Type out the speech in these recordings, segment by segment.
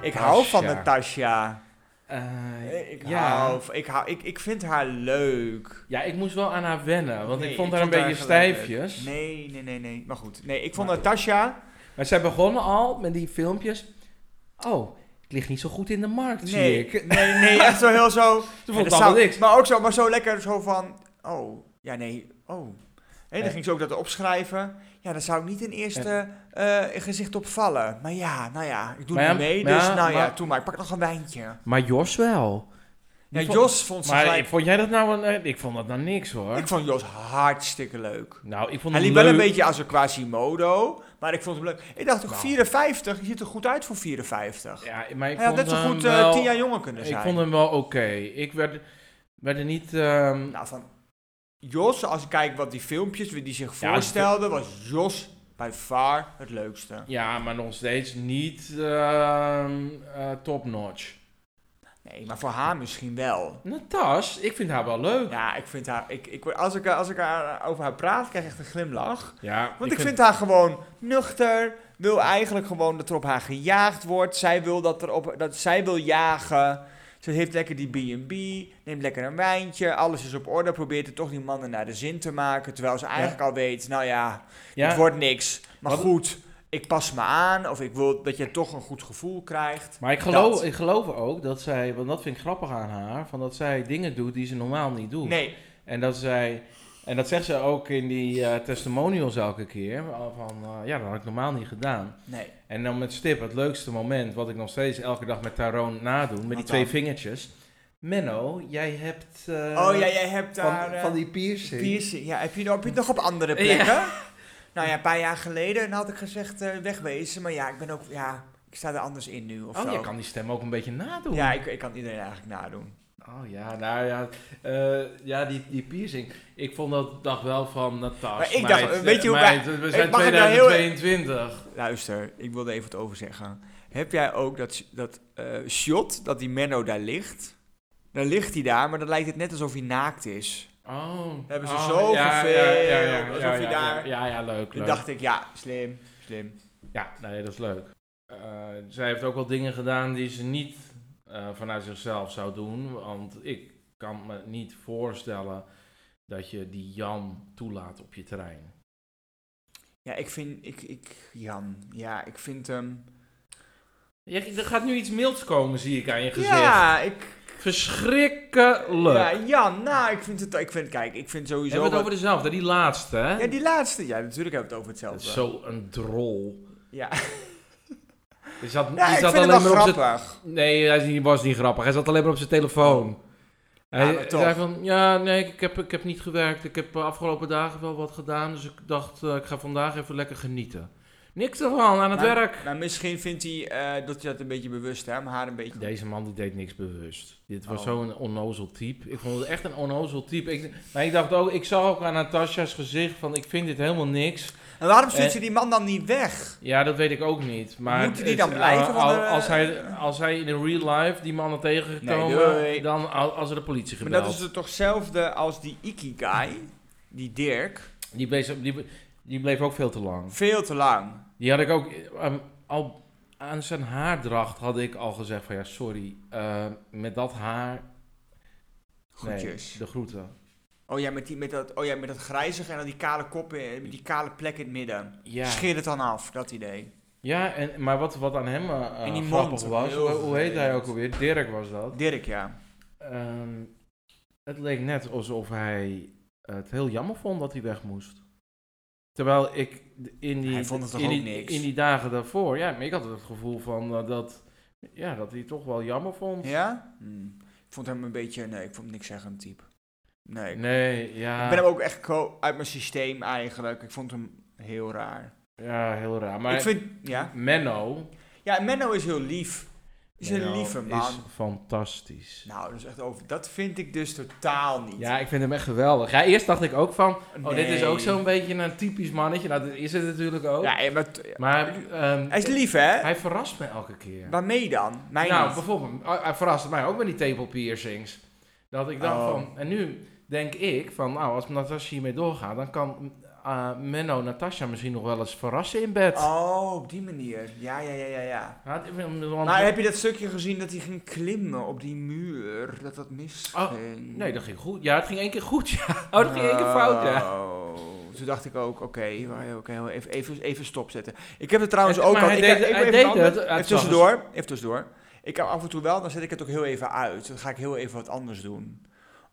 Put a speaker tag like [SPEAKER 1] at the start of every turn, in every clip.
[SPEAKER 1] Ik hou van
[SPEAKER 2] Natasha.
[SPEAKER 1] Natasha.
[SPEAKER 2] Eh,
[SPEAKER 1] Ik,
[SPEAKER 2] ja.
[SPEAKER 1] hou, ik, hou, ik, ik vind haar leuk.
[SPEAKER 2] ja, ik moest wel aan haar wennen, want
[SPEAKER 1] Nee,
[SPEAKER 2] ik vond haar een beetje
[SPEAKER 1] gelijk leuk.
[SPEAKER 2] stijfjes.
[SPEAKER 1] Nee, nee, nee, nee. Maar goed. Nee, ik vond
[SPEAKER 2] Maar-
[SPEAKER 1] Natasha...
[SPEAKER 2] Maar zij begonnen al met die filmpjes. Oh, ik lig niet zo goed in de markt, zie
[SPEAKER 1] Nee,
[SPEAKER 2] ik.
[SPEAKER 1] nee, nee. Echt zo heel zo...
[SPEAKER 2] Toen vond ik
[SPEAKER 1] En
[SPEAKER 2] allemaal
[SPEAKER 1] zou-
[SPEAKER 2] niks.
[SPEAKER 1] Maar ook zo, maar zo lekker zo van, oh, ja nee, oh. Hé, dan
[SPEAKER 2] Eh.
[SPEAKER 1] ging ze ook dat opschrijven. Ja, daar zou ik niet in eerste eh, gezicht op vallen. Maar ja, nou ja, ik doe
[SPEAKER 2] Maar ja,
[SPEAKER 1] niet mee,
[SPEAKER 2] maar
[SPEAKER 1] dus
[SPEAKER 2] ja,
[SPEAKER 1] nou ja,
[SPEAKER 2] maar-
[SPEAKER 1] toen maar. Ik pak nog een wijntje.
[SPEAKER 2] Maar Jos wel.
[SPEAKER 1] Ja,
[SPEAKER 2] Die vond-
[SPEAKER 1] Jos vond ze
[SPEAKER 2] Maar
[SPEAKER 1] gelijk-
[SPEAKER 2] vond jij dat nou een... eh, Ik vond dat nou niks, hoor.
[SPEAKER 1] Ik vond Jos hartstikke leuk.
[SPEAKER 2] nou, ik vond
[SPEAKER 1] Hij
[SPEAKER 2] het
[SPEAKER 1] liep
[SPEAKER 2] leuk.
[SPEAKER 1] wel een beetje als een Quasimodo, maar ik vond hem leuk. Ik dacht ook,
[SPEAKER 2] Nou.
[SPEAKER 1] 54, je ziet er goed uit voor 54.
[SPEAKER 2] Ja, maar ik
[SPEAKER 1] Hij had
[SPEAKER 2] vond
[SPEAKER 1] net zo
[SPEAKER 2] hem
[SPEAKER 1] goed eh,
[SPEAKER 2] wel...
[SPEAKER 1] 10 jaar jonger kunnen zijn.
[SPEAKER 2] Ik vond hem wel oké. Ik werd, werd er niet... ehm,
[SPEAKER 1] Nou, van Jos, als ik kijk wat die filmpjes die zich
[SPEAKER 2] Ja,
[SPEAKER 1] voorstelden, was Jos bij far het leukste.
[SPEAKER 2] Ja, maar nog steeds niet ehm eh top-notch.
[SPEAKER 1] Nee, maar voor haar misschien wel.
[SPEAKER 2] Natas, ik vind haar wel leuk.
[SPEAKER 1] Ja, ik vind haar. Ik, ik, word- als, ik, als ik haar, over haar praat, krijg ik echt een glimlach.
[SPEAKER 2] Ja,
[SPEAKER 1] Want ik, vind... haar gewoon nuchter. Wil eigenlijk gewoon dat er op haar gejaagd wordt. Zij wil dat er op. Dat zij wil jagen. Ze heeft lekker die BB. Neemt lekker een wijntje. Alles is op orde. Probeert er toch die mannen naar de zin te maken. Terwijl ze eigenlijk al weet, nou ja,
[SPEAKER 2] ja,
[SPEAKER 1] Het wordt niks. Maar
[SPEAKER 2] Wat-
[SPEAKER 1] goed, ik pas me aan. Of ik wil dat je toch een goed gevoel krijgt.
[SPEAKER 2] Maar ik geloof,
[SPEAKER 1] dat.
[SPEAKER 2] ik geloof ook dat zij, want dat vind ik grappig aan haar, van dat zij dingen doet die ze normaal niet doet.
[SPEAKER 1] Nee,
[SPEAKER 2] En dat zij, en dat zegt ze ook in die eh, testimonials elke keer, van eh, ja, dat had ik normaal niet gedaan.
[SPEAKER 1] nee.
[SPEAKER 2] En dan met Stip, het leukste moment, wat ik nog steeds elke dag met Taroon nadoen, met
[SPEAKER 1] Wat
[SPEAKER 2] die twee
[SPEAKER 1] dan?
[SPEAKER 2] vingertjes. Menno, jij hebt... eh,
[SPEAKER 1] oh ja, jij hebt daar... eh,
[SPEAKER 2] die piercing.
[SPEAKER 1] piercing. Ja, heb je, heb je het nog op andere plekken? Nou ja, een paar jaar geleden en had ik gezegd eh, wegwezen. Maar ja, ik ben ook... Ja, ik sta er anders in nu of
[SPEAKER 2] oh,
[SPEAKER 1] zo.
[SPEAKER 2] je kan die stem ook een beetje nadoen.
[SPEAKER 1] Ja, ik, ik kan iedereen eigenlijk nadoen.
[SPEAKER 2] Oh ja, nou ja, eh, ja die, die piercing. Ik vond dat dag wel van Natas.
[SPEAKER 1] Maar ik dacht,
[SPEAKER 2] meid,
[SPEAKER 1] weet je hoe wij-
[SPEAKER 2] meid, We
[SPEAKER 1] ik
[SPEAKER 2] zijn
[SPEAKER 1] mag er nou heel-
[SPEAKER 2] 2022.
[SPEAKER 1] Luister, ik wilde even wat over zeggen. Heb jij ook dat, dat eh, shot dat die Menno daar ligt? Dan ligt hij daar, maar dan lijkt het net alsof hij naakt is.
[SPEAKER 2] Oh.
[SPEAKER 1] Hebben ze
[SPEAKER 2] oh,
[SPEAKER 1] zo gefilmd, alsof
[SPEAKER 2] ja,
[SPEAKER 1] je
[SPEAKER 2] ja,
[SPEAKER 1] daar-
[SPEAKER 2] Ja, ja, leuk,
[SPEAKER 1] Toen
[SPEAKER 2] leuk.
[SPEAKER 1] dacht ik, ja, slim, slim.
[SPEAKER 2] Ja, nee, dat is leuk. Eh, zij heeft ook wel dingen gedaan die ze niet eh, vanuit zichzelf zou doen. Want ik kan me niet voorstellen dat je die Jan toelaat op je terrein.
[SPEAKER 1] Ja, ik vind, ik, ik, Jan, ja, ik vind hem...
[SPEAKER 2] Ja, er gaat nu iets milds komen, zie ik aan je gezicht.
[SPEAKER 1] Ja, ik,
[SPEAKER 2] Verschrikkelijk.
[SPEAKER 1] ja, Jan, nou, ik vind het, ik vind, kijk, ik vind
[SPEAKER 2] We
[SPEAKER 1] sowieso...
[SPEAKER 2] hebben het
[SPEAKER 1] wat-
[SPEAKER 2] over dezelfde, die laatste, hè?
[SPEAKER 1] Ja, die laatste, ja, natuurlijk hebben we het over
[SPEAKER 2] Dat
[SPEAKER 1] hetzelfde.
[SPEAKER 2] is zo een drol.
[SPEAKER 1] Ja,
[SPEAKER 2] Hij zat,
[SPEAKER 1] ja
[SPEAKER 2] hij
[SPEAKER 1] ik
[SPEAKER 2] zat
[SPEAKER 1] vind het
[SPEAKER 2] alleen
[SPEAKER 1] wel
[SPEAKER 2] maar op zijn...
[SPEAKER 1] grappig.
[SPEAKER 2] Nee, hij is niet- was niet grappig. Hij zat alleen maar op zijn telefoon. Hij
[SPEAKER 1] Oh. Ja, maar toch.
[SPEAKER 2] zei van, ja, nee, ik heb, ik heb niet gewerkt. Ik heb de afgelopen dagen wel wat gedaan. Dus ik dacht, eh, ik ga vandaag even lekker genieten. Niks ervan, aan het
[SPEAKER 1] Maar-
[SPEAKER 2] werk.
[SPEAKER 1] Maar Nou, misschien vindt hij eh, dat hij dat een beetje bewust, hè, maar haar een beetje...
[SPEAKER 2] Deze man die deed niks bewust. Dit was
[SPEAKER 1] Oh.
[SPEAKER 2] zo'n onnozel type. Ik vond het echt een onnozel type. Ik, maar ik dacht ook, ik zag ook aan Natasja's gezicht van, ik vind dit helemaal niks.
[SPEAKER 1] En waarom stuurt
[SPEAKER 2] Eh.
[SPEAKER 1] ze die man dan niet weg?
[SPEAKER 2] Ja, dat weet ik ook niet. Maar
[SPEAKER 1] Moeten die
[SPEAKER 2] het-
[SPEAKER 1] dan blijven?
[SPEAKER 2] al-
[SPEAKER 1] Want, eh,
[SPEAKER 2] als, hij, als hij in de real life die mannen tegengekomen,
[SPEAKER 1] Nee, doei.
[SPEAKER 2] dan al- als er de politie
[SPEAKER 1] Maar
[SPEAKER 2] gebeld.
[SPEAKER 1] dat is het toch hetzelfde als die Ikigai, die Dirk,
[SPEAKER 2] die, bleef, die, die bleef ook veel te lang.
[SPEAKER 1] veel te lang.
[SPEAKER 2] Die had ik ook ehm, al aan zijn haardracht had ik al gezegd van ja, sorry, ehm, met dat haar. nee,
[SPEAKER 1] Goedjes.
[SPEAKER 2] de groeten.
[SPEAKER 1] Oh ja, met, die, met, dat, oh ja, met dat grijzige en dan die kale kop, in- met die kale plek in het midden.
[SPEAKER 2] Ja.
[SPEAKER 1] Scheer het dan af, dat idee.
[SPEAKER 2] Ja, en, maar wat, wat aan hem eh,
[SPEAKER 1] En die
[SPEAKER 2] grappig
[SPEAKER 1] mond,
[SPEAKER 2] was,
[SPEAKER 1] heel
[SPEAKER 2] hoe, hoe heet hij
[SPEAKER 1] vervelend.
[SPEAKER 2] ook alweer? Dirk was dat.
[SPEAKER 1] Dirk, ja.
[SPEAKER 2] Ehm, het leek net alsof hij het heel jammer vond dat hij weg moest. Terwijl ik d- in die,
[SPEAKER 1] Hij vond het toch
[SPEAKER 2] in
[SPEAKER 1] ook
[SPEAKER 2] die,
[SPEAKER 1] niks?
[SPEAKER 2] in die dagen daarvoor, ja, maar ik had het gevoel van eh, dat, ja, dat hij het toch wel jammer vond.
[SPEAKER 1] Ja? Hm. Ik vond hem een beetje, nee, ik vond hem niks zeggen type. Nee. Ik
[SPEAKER 2] Nee, ja,
[SPEAKER 1] ik ben hem ook echt ko- uit mijn systeem eigenlijk. Ik vond hem heel raar.
[SPEAKER 2] ja, heel raar. Maar
[SPEAKER 1] ik vind, ja.
[SPEAKER 2] Menno,
[SPEAKER 1] Ja, Menno is heel lief. Is een
[SPEAKER 2] Menno
[SPEAKER 1] lieve man.
[SPEAKER 2] is fantastisch.
[SPEAKER 1] Nou, dat is echt over. Dat vind ik dus totaal niet.
[SPEAKER 2] Ja, ik vind hem echt geweldig. Ja, eerst dacht ik ook van, oh, dit is
[SPEAKER 1] Nee.
[SPEAKER 2] ook zo'n beetje een typisch mannetje. Nou, dat is het natuurlijk ook.
[SPEAKER 1] Ja, ja, maar t- ja.
[SPEAKER 2] Maar ehm,
[SPEAKER 1] hij is lief, hè?
[SPEAKER 2] hij verrast me elke keer.
[SPEAKER 1] Waarmee dan? Mij
[SPEAKER 2] nou,
[SPEAKER 1] niet.
[SPEAKER 2] bijvoorbeeld, oh, hij verraste mij ook met die table piercings. Dat ik dacht
[SPEAKER 1] Oh.
[SPEAKER 2] van, en nu denk ik van, nou, als Natasja hiermee doorgaat, dan kan eh, Menno Natasha misschien nog wel eens verrassen in bed.
[SPEAKER 1] Oh, op die manier. Ja, ja, ja, ja, ja.
[SPEAKER 2] Had- want-
[SPEAKER 1] Maar Nou, heb je dat stukje gezien dat hij ging klimmen op die muur? Dat dat misging?
[SPEAKER 2] Oh, Nee, dat ging goed. Ja, het ging één keer goed. Ja. Oh, dat ging één keer fout, ja.
[SPEAKER 1] Oh, Toen dacht ik ook, oké, waar- oké, even, even, even stopzetten. Ik heb het trouwens
[SPEAKER 2] Het-
[SPEAKER 1] ook
[SPEAKER 2] maar
[SPEAKER 1] al...
[SPEAKER 2] hij
[SPEAKER 1] ik,
[SPEAKER 2] deed-
[SPEAKER 1] ik- ik-
[SPEAKER 2] hij
[SPEAKER 1] even
[SPEAKER 2] deed
[SPEAKER 1] een ander-
[SPEAKER 2] het, het
[SPEAKER 1] Even
[SPEAKER 2] zag
[SPEAKER 1] tussendoor, even tussendoor. Ik heb af en toe wel, dan zet ik het ook heel even uit. Dan ga ik heel even wat anders doen.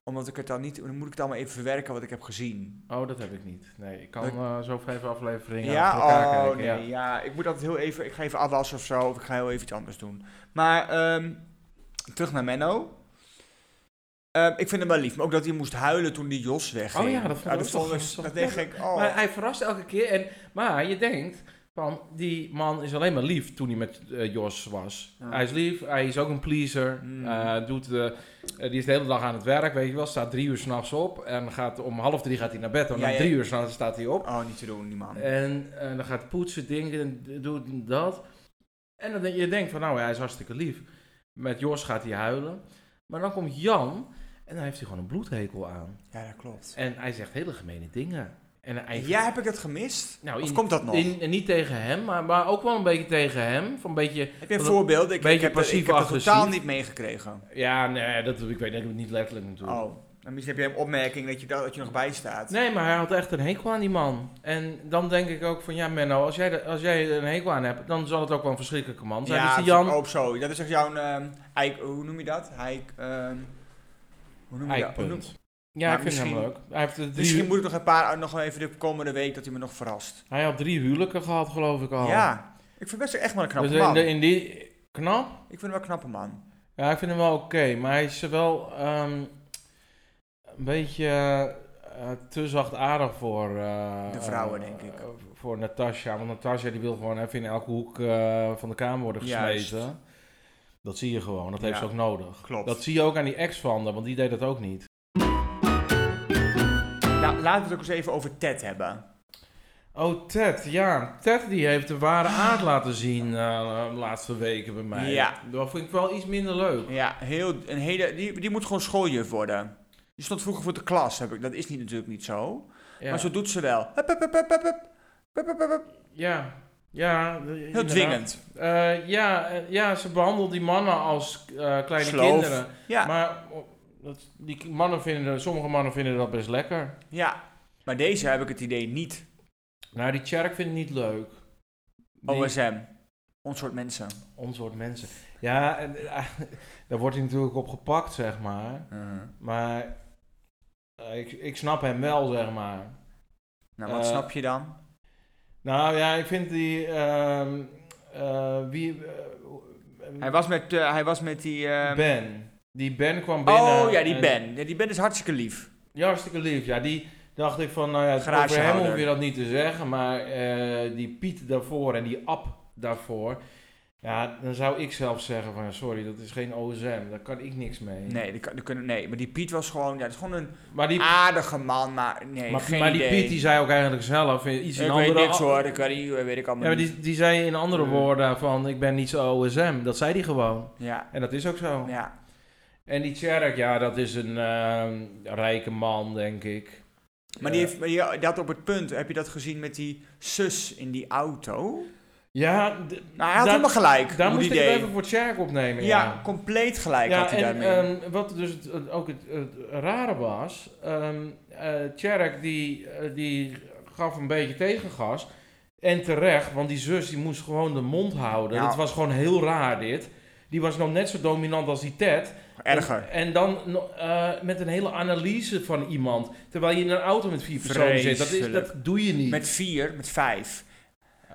[SPEAKER 1] Omdat ik het dan niet... Dan moet ik het allemaal even verwerken wat ik heb gezien.
[SPEAKER 2] Oh, dat heb ik niet. Nee, ik kan
[SPEAKER 1] Dat-
[SPEAKER 2] eh, zo vijf afleveringen
[SPEAKER 1] ja,
[SPEAKER 2] achter elkaar
[SPEAKER 1] oh
[SPEAKER 2] kijken.
[SPEAKER 1] nee, ja. Ik moet altijd heel even... Ik ga even afwassen of zo. Of ik ga heel even iets anders doen. Maar ehm, terug naar Menno. Ehm, ik vind hem wel lief. Maar ook dat hij moest huilen toen die Jos wegging.
[SPEAKER 2] Oh ja, dat vond ik ook
[SPEAKER 1] vond
[SPEAKER 2] toch-
[SPEAKER 1] ik- Dat denk ik... Oh.
[SPEAKER 2] Maar hij verrast elke keer. En, maar je denkt, van, die man is alleen maar lief toen hij met eh, Jos was.
[SPEAKER 1] Ja.
[SPEAKER 2] Hij is lief, hij is ook een pleaser.
[SPEAKER 1] Mm.
[SPEAKER 2] eh, doet de, eh, die is de hele dag aan het werk, weet je wel. Staat drie uur s'nachts op en gaat, om half drie gaat hij naar bed. En
[SPEAKER 1] Ja,
[SPEAKER 2] om
[SPEAKER 1] ja.
[SPEAKER 2] drie uur s'nachts staat hij op.
[SPEAKER 1] Oh, niet te doen, die man.
[SPEAKER 2] En eh, dan gaat poetsen, dingen, en doet dat. En dan denk je denkt van, nou, hij is hartstikke lief. Met Jos gaat hij huilen. Maar dan komt Jan en dan heeft hij gewoon een bloedhekel aan.
[SPEAKER 1] Ja, dat klopt.
[SPEAKER 2] En hij zegt hele gemene dingen. En hij
[SPEAKER 1] Ja, heb ik dat gemist?
[SPEAKER 2] nou,
[SPEAKER 1] Of
[SPEAKER 2] in-
[SPEAKER 1] komt dat nog?
[SPEAKER 2] in- en niet tegen hem, maar, maar ook wel een beetje tegen hem. Van een beetje,
[SPEAKER 1] heb je een
[SPEAKER 2] een
[SPEAKER 1] voorbeeld? Ik, ik
[SPEAKER 2] beetje
[SPEAKER 1] heb, dat- ik heb dat
[SPEAKER 2] passief-agressief.
[SPEAKER 1] totaal niet meegekregen.
[SPEAKER 2] ja, nee, dat, ik weet dat niet letterlijk natuurlijk.
[SPEAKER 1] Oh, en misschien heb je een opmerking dat je, daar- dat je nog bij staat.
[SPEAKER 2] Nee, maar hij had echt een hekel aan die man. En dan denk ik ook van, ja Menno, als jij, de- als jij er een hekel aan hebt, dan zal het ook wel een verschrikkelijke man zijn. dus
[SPEAKER 1] ja,
[SPEAKER 2] die Jan,
[SPEAKER 1] ook zo. Dat is echt jouw... ehm, eik- hoe noem je dat? Eik, ehm, hoe noem je dat? Hoe noem-
[SPEAKER 2] Eikpunt. Ja,
[SPEAKER 1] Maar
[SPEAKER 2] ik vind hem
[SPEAKER 1] misschien-
[SPEAKER 2] leuk. Hij, heeft er drie,
[SPEAKER 1] Misschien moet ik nog een paar, oh, nog wel even de komende week dat hij me nog verrast.
[SPEAKER 2] hij had drie huwelijken gehad, geloof ik al.
[SPEAKER 1] Ja, ik vind best echt wel een knappe
[SPEAKER 2] dus Oh. in,
[SPEAKER 1] man.
[SPEAKER 2] de- in die... Knap?
[SPEAKER 1] Ik vind hem wel een knappe man.
[SPEAKER 2] Ja, ik vind hem wel oké. maar hij is er wel ehm, een beetje eh, te zachtaardig voor... eh,
[SPEAKER 1] De vrouwen,
[SPEAKER 2] eh,
[SPEAKER 1] denk ik.
[SPEAKER 2] Voor Natasja. Want Natasja die wil gewoon even in elke hoek eh, van de kamer worden
[SPEAKER 1] Juist.
[SPEAKER 2] gesmeten. Dat zie je gewoon. Dat heeft
[SPEAKER 1] Ja,
[SPEAKER 2] ze ook nodig.
[SPEAKER 1] klopt.
[SPEAKER 2] Dat zie je ook aan die ex van haar, want die deed dat ook niet.
[SPEAKER 1] Nou, laten we het ook eens even over Ted hebben.
[SPEAKER 2] Oh, Ted, ja. Ted die heeft de ware aard laten zien eh, de laatste weken bij mij.
[SPEAKER 1] Ja.
[SPEAKER 2] Dat vind ik wel iets minder leuk.
[SPEAKER 1] Ja, heel, een hele, die, die moet gewoon schooljuf worden. Die stond vroeger voor de klas, heb ik. Dat is niet, natuurlijk niet zo.
[SPEAKER 2] Ja,
[SPEAKER 1] Maar zo doet ze wel. Hup, hup, hup, hup, hup, hup. Hup, hup, hup, hup.
[SPEAKER 2] ja. ja
[SPEAKER 1] Heel dwingend.
[SPEAKER 2] Eh, ja, eh, ja, ze behandelt die mannen als eh, kleine
[SPEAKER 1] Sloof. Ah.
[SPEAKER 2] kinderen.
[SPEAKER 1] Ja,
[SPEAKER 2] Maar oh, dat, die mannen vinden, sommige mannen vinden dat best lekker.
[SPEAKER 1] ja. Maar deze heb ik het idee niet.
[SPEAKER 2] Nou, die Tjerk vindt het niet leuk. Die-
[SPEAKER 1] OSM. Ons soort mensen.
[SPEAKER 2] ons soort mensen. Ja, en, eh, daar wordt hij natuurlijk op gepakt, zeg maar. Maar eh, ik, ik snap hem wel, zeg maar.
[SPEAKER 1] Nou, wat
[SPEAKER 2] Eh,
[SPEAKER 1] snap je dan?
[SPEAKER 2] Nou ja, ik vind die... ehm, eh, wie... eh,
[SPEAKER 1] Hij was met, eh, hij was met die... eh,
[SPEAKER 2] ben. Die Ben kwam binnen.
[SPEAKER 1] Oh ja, die
[SPEAKER 2] en-
[SPEAKER 1] Ben. Ja, die Ben is hartstikke lief.
[SPEAKER 2] Ja, hartstikke lief. Ja, die dacht ik van, nou ja, over hem
[SPEAKER 1] Garagehouder.
[SPEAKER 2] hoef je dat niet te zeggen. Maar eh, die Piet daarvoor en die Ab daarvoor. Ja, dan zou ik zelf zeggen van, sorry, dat is geen OSM. Daar kan ik niks mee.
[SPEAKER 1] Nee, die, kan- die kunnen, nee, maar die Piet was gewoon... Ja, dat is gewoon een
[SPEAKER 2] Maar die,
[SPEAKER 1] aardige man, maar nee,
[SPEAKER 2] maar,
[SPEAKER 1] geen
[SPEAKER 2] maar die
[SPEAKER 1] idee.
[SPEAKER 2] Piet die zei ook eigenlijk zelf eh, iets
[SPEAKER 1] Ik
[SPEAKER 2] in
[SPEAKER 1] weet
[SPEAKER 2] andere...
[SPEAKER 1] niks hoor, dat weet, ik- weet ik
[SPEAKER 2] Ja,
[SPEAKER 1] allemaal
[SPEAKER 2] maar
[SPEAKER 1] niet.
[SPEAKER 2] die, die zei in andere
[SPEAKER 1] Ja.
[SPEAKER 2] woorden van, ik ben niet zo OSM. Dat zei hij gewoon.
[SPEAKER 1] Ja,
[SPEAKER 2] En dat is ook zo.
[SPEAKER 1] ja.
[SPEAKER 2] En die Tjerk, ja, dat is een ehm, rijke man, denk ik.
[SPEAKER 1] Maar,
[SPEAKER 2] Eh.
[SPEAKER 1] die heeft, maar die, dat op het punt, heb je dat gezien met die zus in die auto?
[SPEAKER 2] Ja, d-
[SPEAKER 1] Nou, hij had
[SPEAKER 2] daar-
[SPEAKER 1] helemaal gelijk.
[SPEAKER 2] Daar
[SPEAKER 1] hoe
[SPEAKER 2] moest
[SPEAKER 1] die
[SPEAKER 2] ik het
[SPEAKER 1] deed.
[SPEAKER 2] even voor Tjerk opnemen.
[SPEAKER 1] Ja, compleet gelijk
[SPEAKER 2] Ja,
[SPEAKER 1] had hij
[SPEAKER 2] en
[SPEAKER 1] daarmee.
[SPEAKER 2] ehm, wat dus het, het- ook het, het rare was, ehm eh, Tjerk die, eh, die gaf een beetje tegengas. En terecht, want die zus die moest gewoon de mond houden.
[SPEAKER 1] Nou.
[SPEAKER 2] Dat was gewoon heel raar dit. Die was nog net zo dominant als die Ted.
[SPEAKER 1] Erger.
[SPEAKER 2] En, en dan no- eh, met een hele analyse van iemand. Terwijl je in een auto met vier personen zit. Dat, is,
[SPEAKER 1] Vreselijk.
[SPEAKER 2] dat doe je niet.
[SPEAKER 1] Met vier, met vijf.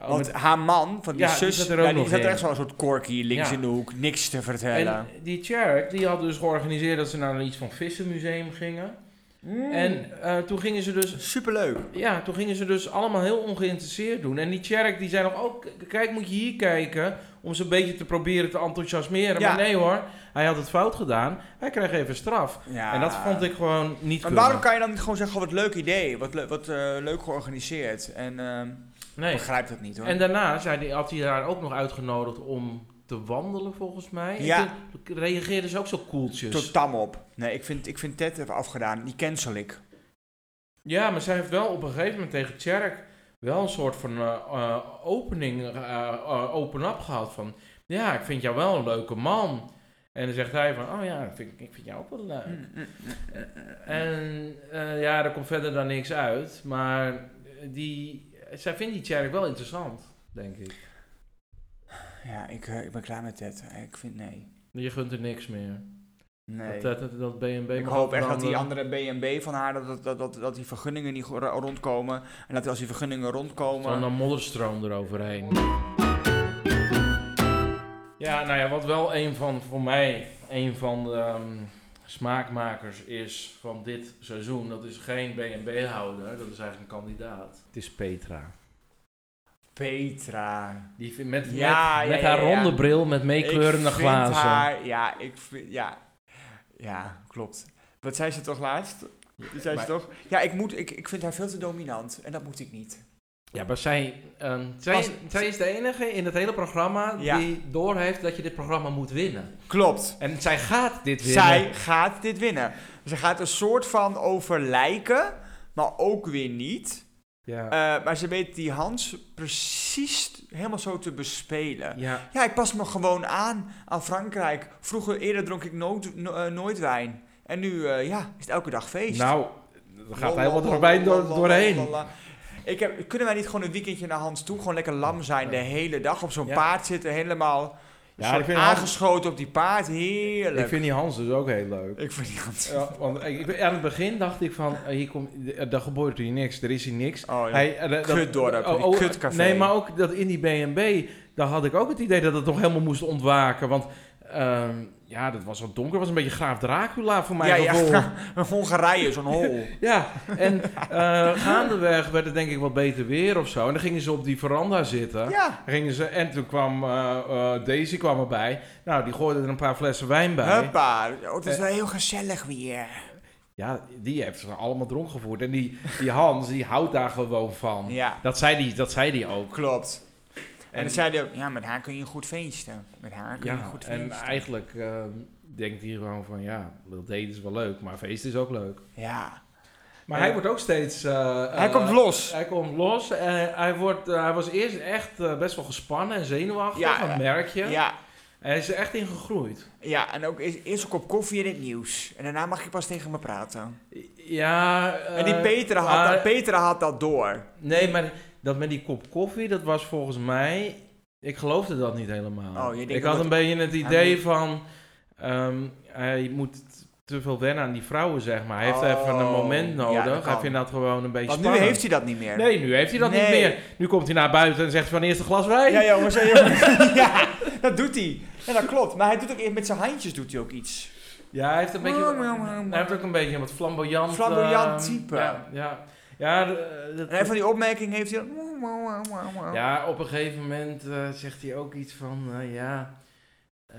[SPEAKER 2] Oh,
[SPEAKER 1] Want
[SPEAKER 2] met-
[SPEAKER 1] haar man van die
[SPEAKER 2] Ja, die
[SPEAKER 1] zus,
[SPEAKER 2] zat er
[SPEAKER 1] ja,
[SPEAKER 2] ook
[SPEAKER 1] die
[SPEAKER 2] nog
[SPEAKER 1] zat
[SPEAKER 2] in.
[SPEAKER 1] echt zo'n soort korkie links
[SPEAKER 2] Ja.
[SPEAKER 1] in de hoek. Niks te vertellen.
[SPEAKER 2] en die Tjerk die had dus georganiseerd dat ze naar iets van vissenmuseum gingen.
[SPEAKER 1] Mm.
[SPEAKER 2] En eh, toen gingen ze dus
[SPEAKER 1] superleuk.
[SPEAKER 2] Ja, toen gingen ze dus allemaal heel ongeïnteresseerd doen. En die Tjerk die zei nog, oh, k- kijk, moet je hier kijken. Om ze een beetje te proberen te enthousiasmeren.
[SPEAKER 1] Ja.
[SPEAKER 2] Maar nee hoor, hij had het fout gedaan. Hij kreeg even straf.
[SPEAKER 1] Ja.
[SPEAKER 2] En dat vond ik gewoon niet
[SPEAKER 1] Maar
[SPEAKER 2] kunnen.
[SPEAKER 1] waarom kan je dan niet gewoon zeggen, oh, wat leuk idee, wat, le- wat eh, leuk georganiseerd. En ehm, ik
[SPEAKER 2] Nee.
[SPEAKER 1] begrijp dat niet hoor.
[SPEAKER 2] En daarna zei die, had hij haar ook nog uitgenodigd om te wandelen, volgens mij.
[SPEAKER 1] Ja.
[SPEAKER 2] En toen reageerde ze ook zo koeltjes.
[SPEAKER 1] Tot tam op. Nee, ik vind, ik vind Ted even afgedaan. Die cancel ik.
[SPEAKER 2] Ja, maar zij heeft wel op een gegeven moment tegen Tjerk wel een soort van eh, eh, opening, eh, eh, open-up gehad van... Ja, ik vind jou wel een leuke man. En dan zegt hij van, oh ja, ik vind, ik vind jou ook wel leuk.
[SPEAKER 1] Hmm.
[SPEAKER 2] En eh, ja, er komt verder dan niks uit. Maar die, zij vindt die Tjerk wel interessant, denk ik.
[SPEAKER 1] Ja, ik, eh, ik ben klaar met dit. Ik vind nee.
[SPEAKER 2] Je gunt er niks meer.
[SPEAKER 1] Nee.
[SPEAKER 2] Dat, dat, dat B&B
[SPEAKER 1] Ik
[SPEAKER 2] mag
[SPEAKER 1] hoop echt dat die
[SPEAKER 2] veranderen.
[SPEAKER 1] andere B&B van haar, dat, dat, dat, dat die vergunningen niet go- rondkomen. En dat als die vergunningen
[SPEAKER 2] Van
[SPEAKER 1] rondkomen...
[SPEAKER 2] een modderstroom eroverheen. Ja, nou ja, wat wel een van, voor mij, een van de ehm, smaakmakers is van dit seizoen. Dat is geen B&B-houder, dat is eigenlijk een kandidaat. Het is Petra.
[SPEAKER 1] Petra.
[SPEAKER 2] Die vindt met,
[SPEAKER 1] Ja,
[SPEAKER 2] met,
[SPEAKER 1] ja,
[SPEAKER 2] met
[SPEAKER 1] ja,
[SPEAKER 2] haar
[SPEAKER 1] ja.
[SPEAKER 2] ronde bril met meekleurende
[SPEAKER 1] Ik vind
[SPEAKER 2] glazen.
[SPEAKER 1] haar- ja, ik vind, ja. ja, klopt. Wat zei ze toch laatst? Die zei ze
[SPEAKER 2] Maar-
[SPEAKER 1] toch? Ja, ik, moet, ik, ik vind haar veel te dominant en dat moet ik niet.
[SPEAKER 2] Ja, maar zij, ehm, zij,
[SPEAKER 1] Pas-
[SPEAKER 2] zij is de enige in het hele programma
[SPEAKER 1] Ja.
[SPEAKER 2] die doorheeft dat je dit programma moet winnen.
[SPEAKER 1] Klopt.
[SPEAKER 2] En zij gaat dit winnen.
[SPEAKER 1] Zij gaat dit winnen. Ze gaat een soort van over lijken, maar ook weer niet.
[SPEAKER 2] Ja.
[SPEAKER 1] Eh, maar ze weet die Hans precies t- helemaal zo te bespelen.
[SPEAKER 2] ja.
[SPEAKER 1] Ja, ik pas me gewoon aan aan Frankrijk. Vroeger, eerder dronk ik nooit, no- eh, nooit wijn. En nu, eh, ja, is het elke dag feest.
[SPEAKER 2] Nou, er gaat
[SPEAKER 1] Lol,
[SPEAKER 2] helemaal
[SPEAKER 1] lol,
[SPEAKER 2] door mij
[SPEAKER 1] lol,
[SPEAKER 2] door,
[SPEAKER 1] lol,
[SPEAKER 2] doorheen.
[SPEAKER 1] lol, lol. Ik heb, kunnen wij niet gewoon een weekendje naar Hans toe? Gewoon lekker lam zijn de hele dag op zo'n
[SPEAKER 2] Ja.
[SPEAKER 1] paard zitten. Helemaal
[SPEAKER 2] Ja,
[SPEAKER 1] soort
[SPEAKER 2] ik vind Hans-
[SPEAKER 1] aangeschoten op die paard. Heerlijk.
[SPEAKER 2] Ik vind die Hans dus ook heel leuk.
[SPEAKER 1] Ik vind die Hans...
[SPEAKER 2] Ja, want ik, ik- aan het begin dacht ik van, eh, hier komt, eh, daar gebeurt hier niks, er is hier niks.
[SPEAKER 1] Oh, ja.
[SPEAKER 2] Hij, eh, dat-
[SPEAKER 1] Kutdorp, die kutcafé.
[SPEAKER 2] Nee, maar ook dat in die B&B, daar had ik ook het idee dat het nog helemaal moest ontwaken. Want ehm, ja, dat was zo donker, was een beetje Graaf Dracula voor mij.
[SPEAKER 1] ja,
[SPEAKER 2] gevoel.
[SPEAKER 1] ja, een Hongarije, zo'n hol.
[SPEAKER 2] Ja, en eh, gaandeweg werd het denk ik wat beter weer of zo. En dan gingen ze op die veranda zitten.
[SPEAKER 1] ja.
[SPEAKER 2] Gingen ze, en toen kwam eh, eh, Daisy kwam erbij. Nou, die gooide er een paar flessen wijn bij. Eh.
[SPEAKER 1] Huppa. Oh, het is wel heel gezellig weer.
[SPEAKER 2] Ja, die heeft ze allemaal dronken gevoerd. En die, die Hans, die houdt daar gewoon van.
[SPEAKER 1] Ja,
[SPEAKER 2] Dat zei die, dat zei die ook.
[SPEAKER 1] klopt. En
[SPEAKER 2] En-
[SPEAKER 1] dan zei hij ook, ja, met haar kun je goed feesten. Met haar kun je
[SPEAKER 2] Ja,
[SPEAKER 1] goed
[SPEAKER 2] en
[SPEAKER 1] feesten.
[SPEAKER 2] eigenlijk eh, denkt hij gewoon van, ja, dat date is wel leuk, maar feest is ook leuk.
[SPEAKER 1] Ja.
[SPEAKER 2] Maar
[SPEAKER 1] Ja.
[SPEAKER 2] hij wordt ook steeds... eh,
[SPEAKER 1] Hij
[SPEAKER 2] eh,
[SPEAKER 1] komt los.
[SPEAKER 2] Hij komt los en hij, wordt, eh, hij was eerst echt eh, best wel gespannen en zenuwachtig,
[SPEAKER 1] Ja,
[SPEAKER 2] dat
[SPEAKER 1] eh,
[SPEAKER 2] merk je.
[SPEAKER 1] Ja,
[SPEAKER 2] Hij is er echt in gegroeid.
[SPEAKER 1] ja, en ook eerst eerst een kop koffie en het nieuws. En daarna mag je pas tegen me praten.
[SPEAKER 2] Ja,
[SPEAKER 1] En die
[SPEAKER 2] eh,
[SPEAKER 1] Petra had,
[SPEAKER 2] maar-
[SPEAKER 1] dat, Petra had dat door.
[SPEAKER 2] Nee, maar dat met die kop koffie, dat was volgens mij... Ik geloofde dat niet helemaal.
[SPEAKER 1] Oh, je denkt
[SPEAKER 2] ik
[SPEAKER 1] dat
[SPEAKER 2] had een
[SPEAKER 1] het-
[SPEAKER 2] beetje het
[SPEAKER 1] hij
[SPEAKER 2] idee
[SPEAKER 1] moet-
[SPEAKER 2] van... ehm, hij moet t- te veel wennen aan die vrouwen, zeg maar. Hij heeft
[SPEAKER 1] Oh,
[SPEAKER 2] even een moment
[SPEAKER 1] ja,
[SPEAKER 2] nodig.
[SPEAKER 1] dat
[SPEAKER 2] hij
[SPEAKER 1] kan.
[SPEAKER 2] vindt dat gewoon een beetje
[SPEAKER 1] Want nu
[SPEAKER 2] spannend.
[SPEAKER 1] heeft hij dat niet meer.
[SPEAKER 2] Nee, nu heeft hij dat niet
[SPEAKER 1] Nee.
[SPEAKER 2] meer. Nu komt hij naar buiten en zegt van eerst een glas wijn.
[SPEAKER 1] Ja, jongens, ja, jongens. ja, dat doet hij. Ja, dat klopt. Maar hij doet ook met zijn handjes doet hij ook iets.
[SPEAKER 2] Ja, hij heeft een beetje.
[SPEAKER 1] Mwah, mwah, mwah, mwah.
[SPEAKER 2] Hij heeft ook een beetje een wat flamboyant.
[SPEAKER 1] Oh, Flamboyant
[SPEAKER 2] eh,
[SPEAKER 1] type.
[SPEAKER 2] Ja, ja. Ja, eh, dat-
[SPEAKER 1] En hij van die opmerking heeft hij... Oh.
[SPEAKER 2] ja, op een gegeven moment eh, zegt hij ook iets van eh, ja. eh,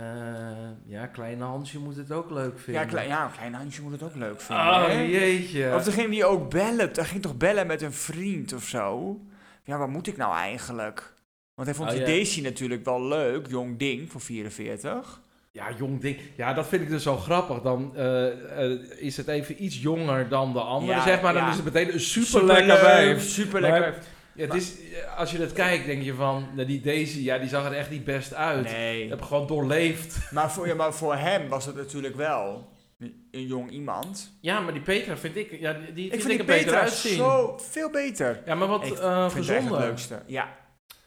[SPEAKER 2] ja, kleine Hansje moet het ook leuk vinden.
[SPEAKER 1] Ja, klein, ja, een klein handje moet het ook leuk vinden. hè?
[SPEAKER 2] Oh jeetje.
[SPEAKER 1] Of degene die ook bellen. Hij ging toch bellen met een vriend of zo? Ja, wat moet ik nou eigenlijk? Want hij vond
[SPEAKER 2] Oh,
[SPEAKER 1] die
[SPEAKER 2] ja.
[SPEAKER 1] Daisy natuurlijk wel leuk. Jong ding, van 44.
[SPEAKER 2] Ja, jong ding. Ja, dat vind ik dus zo grappig. Dan eh, eh, is het even iets jonger dan de andere,
[SPEAKER 1] Ja,
[SPEAKER 2] zeg maar. Dan
[SPEAKER 1] ja.
[SPEAKER 2] is het meteen een super lekker wijf.
[SPEAKER 1] Super lekker.
[SPEAKER 2] Ja, het is, eh, als je dat kijkt, denk je van, nou, die Daisy, ja, die zag er echt niet best uit. Ik
[SPEAKER 1] Nee.
[SPEAKER 2] heb gewoon doorleefd.
[SPEAKER 1] Maar voor, ja, maar voor hem was het natuurlijk wel een een jong iemand.
[SPEAKER 2] Ja, maar die Petra vind ik, ja, die vind ik,
[SPEAKER 1] ik vind
[SPEAKER 2] er
[SPEAKER 1] die
[SPEAKER 2] beter
[SPEAKER 1] Petra
[SPEAKER 2] uitzien.
[SPEAKER 1] zo veel beter.
[SPEAKER 2] Ja, maar wat
[SPEAKER 1] Ik
[SPEAKER 2] eh,
[SPEAKER 1] vind het echt het
[SPEAKER 2] gezonder.
[SPEAKER 1] leukste. Ja.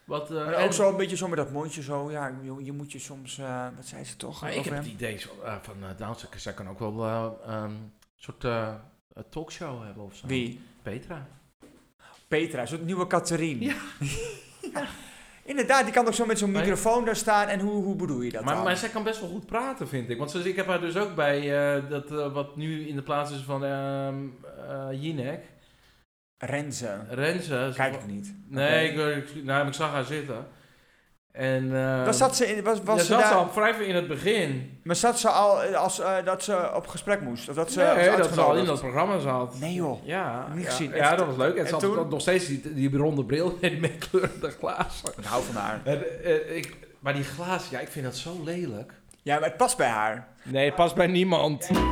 [SPEAKER 2] Wat, eh,
[SPEAKER 1] Maar
[SPEAKER 2] en-
[SPEAKER 1] ook zo een beetje zo met dat mondje zo. Ja, je, je moet je soms... eh, wat zei ze toch?
[SPEAKER 2] Maar ik
[SPEAKER 1] over
[SPEAKER 2] heb het
[SPEAKER 1] hem?
[SPEAKER 2] idee zo, eh, van eh Daan, zij- zij kan ook wel eh, ehm, een soort eh, een talkshow hebben of zo.
[SPEAKER 1] Wie?
[SPEAKER 2] Petra.
[SPEAKER 1] Petra, een soort nieuwe Catherine.
[SPEAKER 2] Ja.
[SPEAKER 1] Ja. Inderdaad, die kan ook zo met zo'n
[SPEAKER 2] Maar-
[SPEAKER 1] microfoon daar staan. En hoe, hoe bedoel je dat
[SPEAKER 2] Maar,
[SPEAKER 1] dan?
[SPEAKER 2] maar zij kan best wel goed praten, vind ik. Want ze- ik heb haar dus ook bij eh, dat eh, wat nu in de plaats is van ehm eh, Jinek.
[SPEAKER 1] Renze.
[SPEAKER 2] Renze. ze-
[SPEAKER 1] Kijk ik niet.
[SPEAKER 2] Nee, ik, ik- nou, ik zag haar zitten. En, eh,
[SPEAKER 1] Was zat ze, in, was, was
[SPEAKER 2] ja,
[SPEAKER 1] ze
[SPEAKER 2] zat
[SPEAKER 1] daar-
[SPEAKER 2] ze al vrij veel in het begin.
[SPEAKER 1] Maar zat ze al eh, als, eh, dat ze op gesprek moest? Of dat ze was
[SPEAKER 2] nee, dat ze al in
[SPEAKER 1] uitgenodigd?
[SPEAKER 2] dat programma zat.
[SPEAKER 1] Nee joh.
[SPEAKER 2] Ja,
[SPEAKER 1] Niet
[SPEAKER 2] ja,
[SPEAKER 1] gezien.
[SPEAKER 2] ja,
[SPEAKER 1] Echt.
[SPEAKER 2] dat was leuk. En,
[SPEAKER 1] En
[SPEAKER 2] ze had
[SPEAKER 1] toen?
[SPEAKER 2] nog steeds die, die ronde bril en die met kleurende glazen.
[SPEAKER 1] Ik hou van haar.
[SPEAKER 2] En, eh, ik, maar die glazen, ja, ik vind dat zo lelijk.
[SPEAKER 1] Ja, maar het past bij haar.
[SPEAKER 2] Nee, het past bij niemand. Nou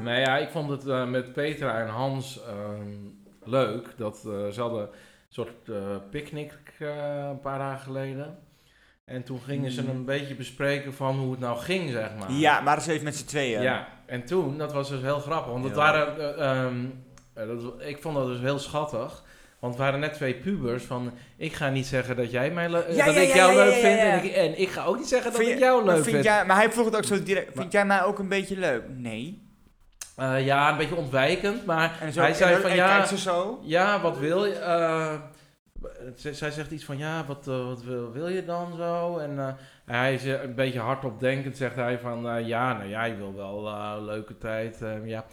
[SPEAKER 2] Nee, ja, ik vond het eh, met Petra en Hans ehm, leuk. Dat, eh, ze hadden een soort eh, picknick eh, een paar dagen geleden. En toen gingen ze
[SPEAKER 1] Hmm.
[SPEAKER 2] een beetje bespreken van hoe het nou ging, zeg maar.
[SPEAKER 1] Ja, maar dat is even met z'n tweeën.
[SPEAKER 2] Ja, en toen, dat was dus heel grappig. Want het
[SPEAKER 1] Ja.
[SPEAKER 2] waren, eh, ehm, eh, dat, ik vond dat dus heel schattig. Want het waren net twee pubers van, ik ga niet zeggen dat jij mij le- eh,
[SPEAKER 1] Ja,
[SPEAKER 2] dat
[SPEAKER 1] ja,
[SPEAKER 2] ik
[SPEAKER 1] ja,
[SPEAKER 2] jou
[SPEAKER 1] ja,
[SPEAKER 2] leuk
[SPEAKER 1] ja,
[SPEAKER 2] vind.
[SPEAKER 1] ja, ja.
[SPEAKER 2] En, ik, en ik ga ook niet zeggen dat
[SPEAKER 1] Vind
[SPEAKER 2] ik
[SPEAKER 1] je-
[SPEAKER 2] jou
[SPEAKER 1] Maar,
[SPEAKER 2] leuk
[SPEAKER 1] vind
[SPEAKER 2] vind.
[SPEAKER 1] jij, maar hij vroeg het ook zo direct.
[SPEAKER 2] Maar-
[SPEAKER 1] Vind jij mij ook een beetje leuk? Nee.
[SPEAKER 2] Eh, ja, een beetje ontwijkend, maar
[SPEAKER 1] En zo,
[SPEAKER 2] hij zei
[SPEAKER 1] en,
[SPEAKER 2] van
[SPEAKER 1] en
[SPEAKER 2] ja...
[SPEAKER 1] kijkt ze zo.
[SPEAKER 2] Ja, wat wil je? eh, z- zij zegt iets van, ja, wat, eh, wat wil, wil je dan zo? En eh, hij is eh, een beetje hardop denkend, zegt hij van, eh, ja, nou ja, je wil wel eh, leuke tijd, eh, ja.